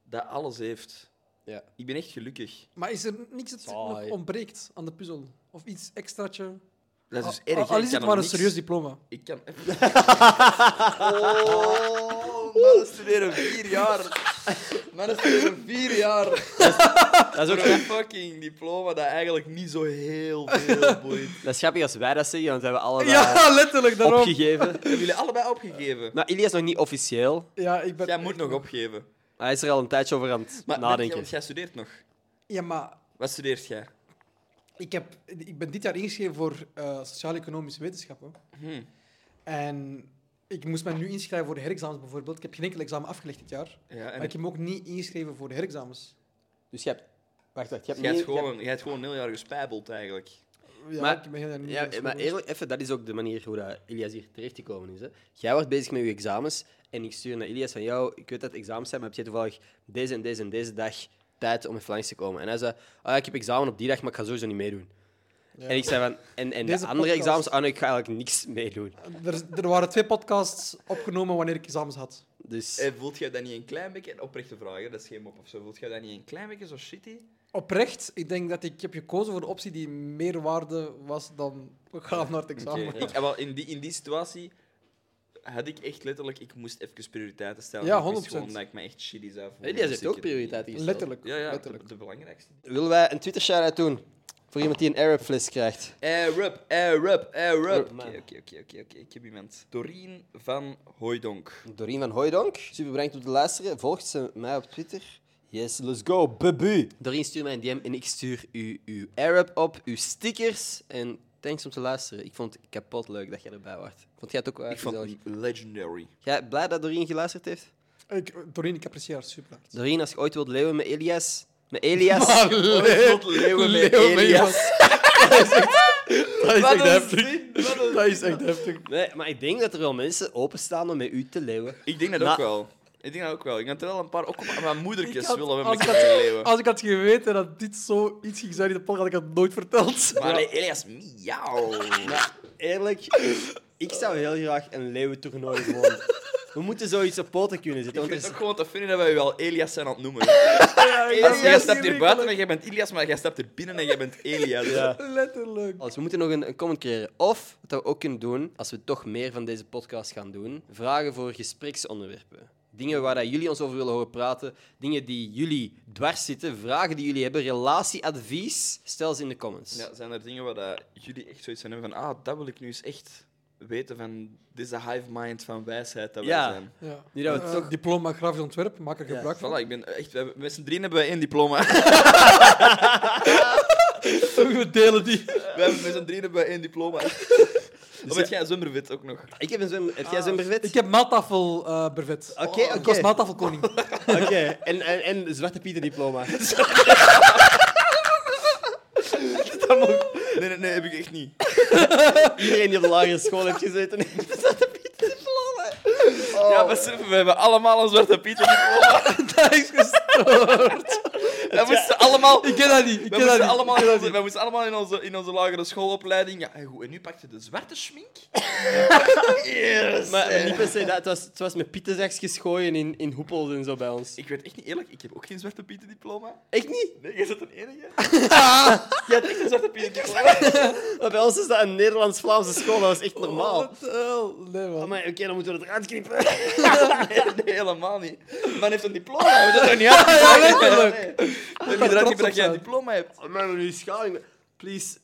dat alles heeft.
Ja.
Ik ben echt gelukkig.
Maar is er niks dat nog
Saai.
ontbreekt aan de puzzel? Of iets extraatje?
Dat is dus
Al-
erg. hè.
Al
Ik
is
kan
het
er
maar een
niks-
serieus diploma.
Ik kan...
*laughs*
oh, mannen studeren vier jaar. Mannen studeren vier jaar.
Dat is ook
Voor *laughs* een fucking diploma dat eigenlijk niet zo heel veel boeit.
Dat is grappig als wij dat zeggen, want we hebben allebei
*laughs* Ja, letterlijk, daarom.
opgegeven.
Hebben jullie allebei opgegeven?
Nou, Ilya is nog niet officieel.
Ja, ik ben...
Jij moet nog opgeven.
Hij is er al een tijdje over aan het
Maar
nadenken.
Want jij studeert nog.
Ja, maar
Wat studeert jij?
ik, heb, ik ben dit jaar ingeschreven voor eh sociaal-economische wetenschappen.
Hm.
En ik moest mij nu inschrijven voor de herexamens bijvoorbeeld. Ik heb geen enkel examen afgelegd dit jaar.
Ja,
Maar
en
ik heb me ook niet ingeschreven voor de herexamens.
Dus je hebt... Wacht, wacht. Je hebt
jij
niet-
hebt
je hebt-
gewoon, jij hebt gewoon een heel jaar gespijbeld eigenlijk.
Ja,
Maar-
ik ben heel erg niet
Ja,
ingeschreven.
maar eerlijk, even, dat is ook de manier hoe dat Ilias hier terecht gekomen is. Hè. Jij wordt bezig met je examens en ik stuur naar Ilias van jou, ik weet dat het examens zijn, maar heb jij toevallig deze en deze en deze dag tijd om even langs te komen? En hij zei, ah, ik heb examen op die dag, maar ik ga sowieso niet meedoen. En ik zei van, en, en de
Deze
andere
podcast-
examens, ah nee, ik ga eigenlijk niks meedoen.
Er, er waren twee podcasts opgenomen wanneer ik examens had.
Dus
En Eh, voelt jij dat niet een klein beetje... en Oprechte vraag, hè, dat is geen mop of zo. Voelt jij dat niet een klein beetje zo shitty?
Oprecht, ik denk dat ik heb gekozen voor de optie die meer waarde was dan we gaan naar het examen.
Oké, ik- ah, wel, in, die, in die situatie had ik echt letterlijk... Ik moest even prioriteiten stellen.
Ja,
Ik wist
100%.
gewoon dat ik me echt shitty zou voelen.
Ilias
Dus
heeft
ik
ook
heb-
prioriteiten gesteld.
Letterlijk.
Ja, ja,
letterlijk.
de, de belangrijkste.
Willen wij een Twitter shout-out doen voor iemand die een Arab-fles krijgt?
Arab, Arab, Arab.
man.
Oké, oké, oké, oké, oké. Ik heb iemand. Doreen van Hooidonk.
Doreen van Hooijdonk, super bedankt om te luisteren. Volgt ze mij op Twitter? Yes, let's go, babu. Doreen stuurt mij een DM en ik stuur u uw Arab op, uw stickers. En thanks om te luisteren. Ik vond het kapot leuk dat jij erbij was. Vond jij het ook wel
Ik vond
gezellig?
die legendary.
Jij blij dat Doreen geluisterd heeft?
Ik, Doreen, ik apprecieer haar super hard.
Doreen, als je ooit wilt leeuwen met Elias... Met Elias...
Tot leeuwen met Elias.
dat is echt
Dat is echt heftig.
Nee, maar ik denk dat er wel mensen openstaan om met u te leeuwen.
Ik denk dat
Na-
ook wel. Ik denk dat ook wel. Ik had er wel een paar... Ook op- mijn moedertjes willen we
als, Oh.
met
ik
een
had,
leeuwen.
als ik had geweten dat dit zoiets ging zijn in de podcast, had ik het nooit verteld.
Maar nee, Elias, miauw.
Eerlijk, ik zou heel graag een leeuwentoernooi gewoon... We moeten zoiets op poten kunnen zetten,
Ik
want
vind
er is
het ook gewoon te vinden dat wij wel Elias zijn aan het noemen.
Elias,
Als jij stapt hier
Elias,
buiten en jij bent Ilias, maar jij stapt er binnen en jij bent Elias.
Ja.
*laughs* Letterlijk.
Als we moeten nog een, een comment creëren. Of, wat we ook kunnen doen, als we toch meer van deze podcast gaan doen, vragen voor gespreksonderwerpen. Dingen waar dat jullie ons over willen horen praten, dingen die jullie dwars zitten, vragen die jullie hebben, relatieadvies, stel ze in de comments.
Ja, zijn er dingen waar dat jullie echt zoiets van hebben van ah, dat wil ik nu eens echt weten van dit is de hive mind van wijsheid dat wij
Ja.
zijn.
Ja.
Nu dat we
Eh,
toch-
Diploma grafisch ontwerp, maak er gebruik van.
Voilà, ik ben echt, we hebben- met z'n drieën hebben wij één
*laughs*
diploma.
We delen die.
we hebben met z'n drieën hebben wij één diploma.
*laughs*
of heb jij zwemmerwit ook nog?
Ik heb een zwem... Heb jij zwembervet?
Ah, Ik heb maaltafel eh brevet.
Oké, oké.
Ik was maaltafelkoning. *laughs*
Oké, en, en, en Zwarte Pieter diploma.
Nee, nee, nee, heb ik echt niet.
Iedereen die op de lagere school heeft gezeten heeft een Zwarte Pieter diploma. Oh. *laughs*
Ja, besef, we hebben allemaal een zwarte Pieter diploma.
dat is gestoord.
En We moesten allemaal...
Ik ken dat niet.
We
Ik ken dat
moesten,
niet.
allemaal in onze, we moesten allemaal in onze, in onze lagere schoolopleiding. Ja, en goed, en nu pak je de zwarte schmink. yes.
Maar niet per se dat. Het was, het was met pietenzakjes gooien in, in hoepels en zo bij ons.
Ik weet echt niet eerlijk, ik heb ook geen zwarte pieten diploma.
Echt niet?
Nee, jij bent de enige.
*laughs*
Jij hebt echt een zwarte pieten diploma.
Maar bij ons is dat een Nederlands-Vlaamse school. Dat was echt normaal.
What the hell? Nee, man.
Oh, maar oké, dan moeten we het eruit knippen.
Nee, nee, helemaal niet. Man heeft een diploma, we doen
*laughs*
dat niet uit.
Ja, letterlijk.
Nee. Nee, maar dat
trots
niet dat
op
jij een
zijn.
diploma hebt.
Oh, maar nu schaling. Please.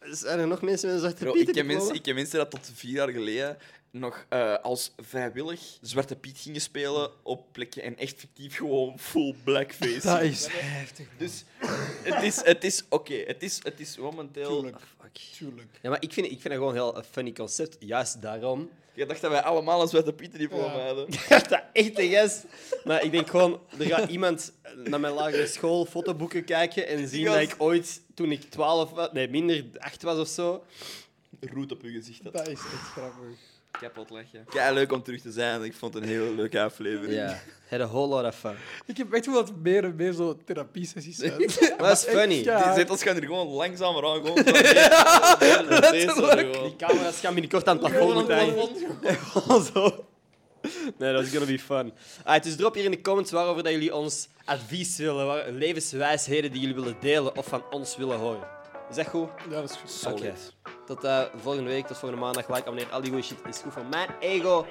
Zijn er nog mensen met een zwarte
Bro,
pieten?
ik, ken mensen,
diploma?
ik ken mensen dat tot vier jaar geleden nog eh, als vrijwillig Zwarte Piet gingen spelen op plekken en echt fictief gewoon full blackface.
Dat is heftig.
Dus het is, het is oké, het, is, het is momenteel...
Ja, maar ik vind, ik vind dat gewoon een heel een funny concept. Juist *laughs* daarom.
Je dacht dat wij allemaal een Zwarte Piet diploma hadden.
dat echt een gest. Maar ik denk gewoon, er gaat iemand naar mijn lagere school fotoboeken kijken en zien dat
gast-
ik ooit, toen ik 12 was, nee, minder, 8 was of zo.
Roet op uw gezicht. Dat.
Dat is echt grappig.
Ik heb wat leggen. Ja, leuk om terug te zijn. Ik vond het een hele leuke aflevering.
Ja, had a whole lot of *laughs* fun.
Ik heb echt wel wat meer en meer zo therapie-sessies. zijn.
Maar dat is funny.
Ja.
Die zetels gaan er gewoon langzamer aan. Gewoon *laughs*
Die camera's gaan binnenkort aan het plafond moeten hangen. *laughs* Gewoon zo. Nee, dat is gonna be fun. Alright, dus drop hier in de comments waarover dat jullie ons advies willen, waar, levenswijsheden die jullie willen delen of van ons willen horen. Is dat goed?
Ja, dat is goed.
Oké. Tot eh, volgende week, tot volgende maandag. Like, abonneer, al die goede shit. Is goed voor mijn ego.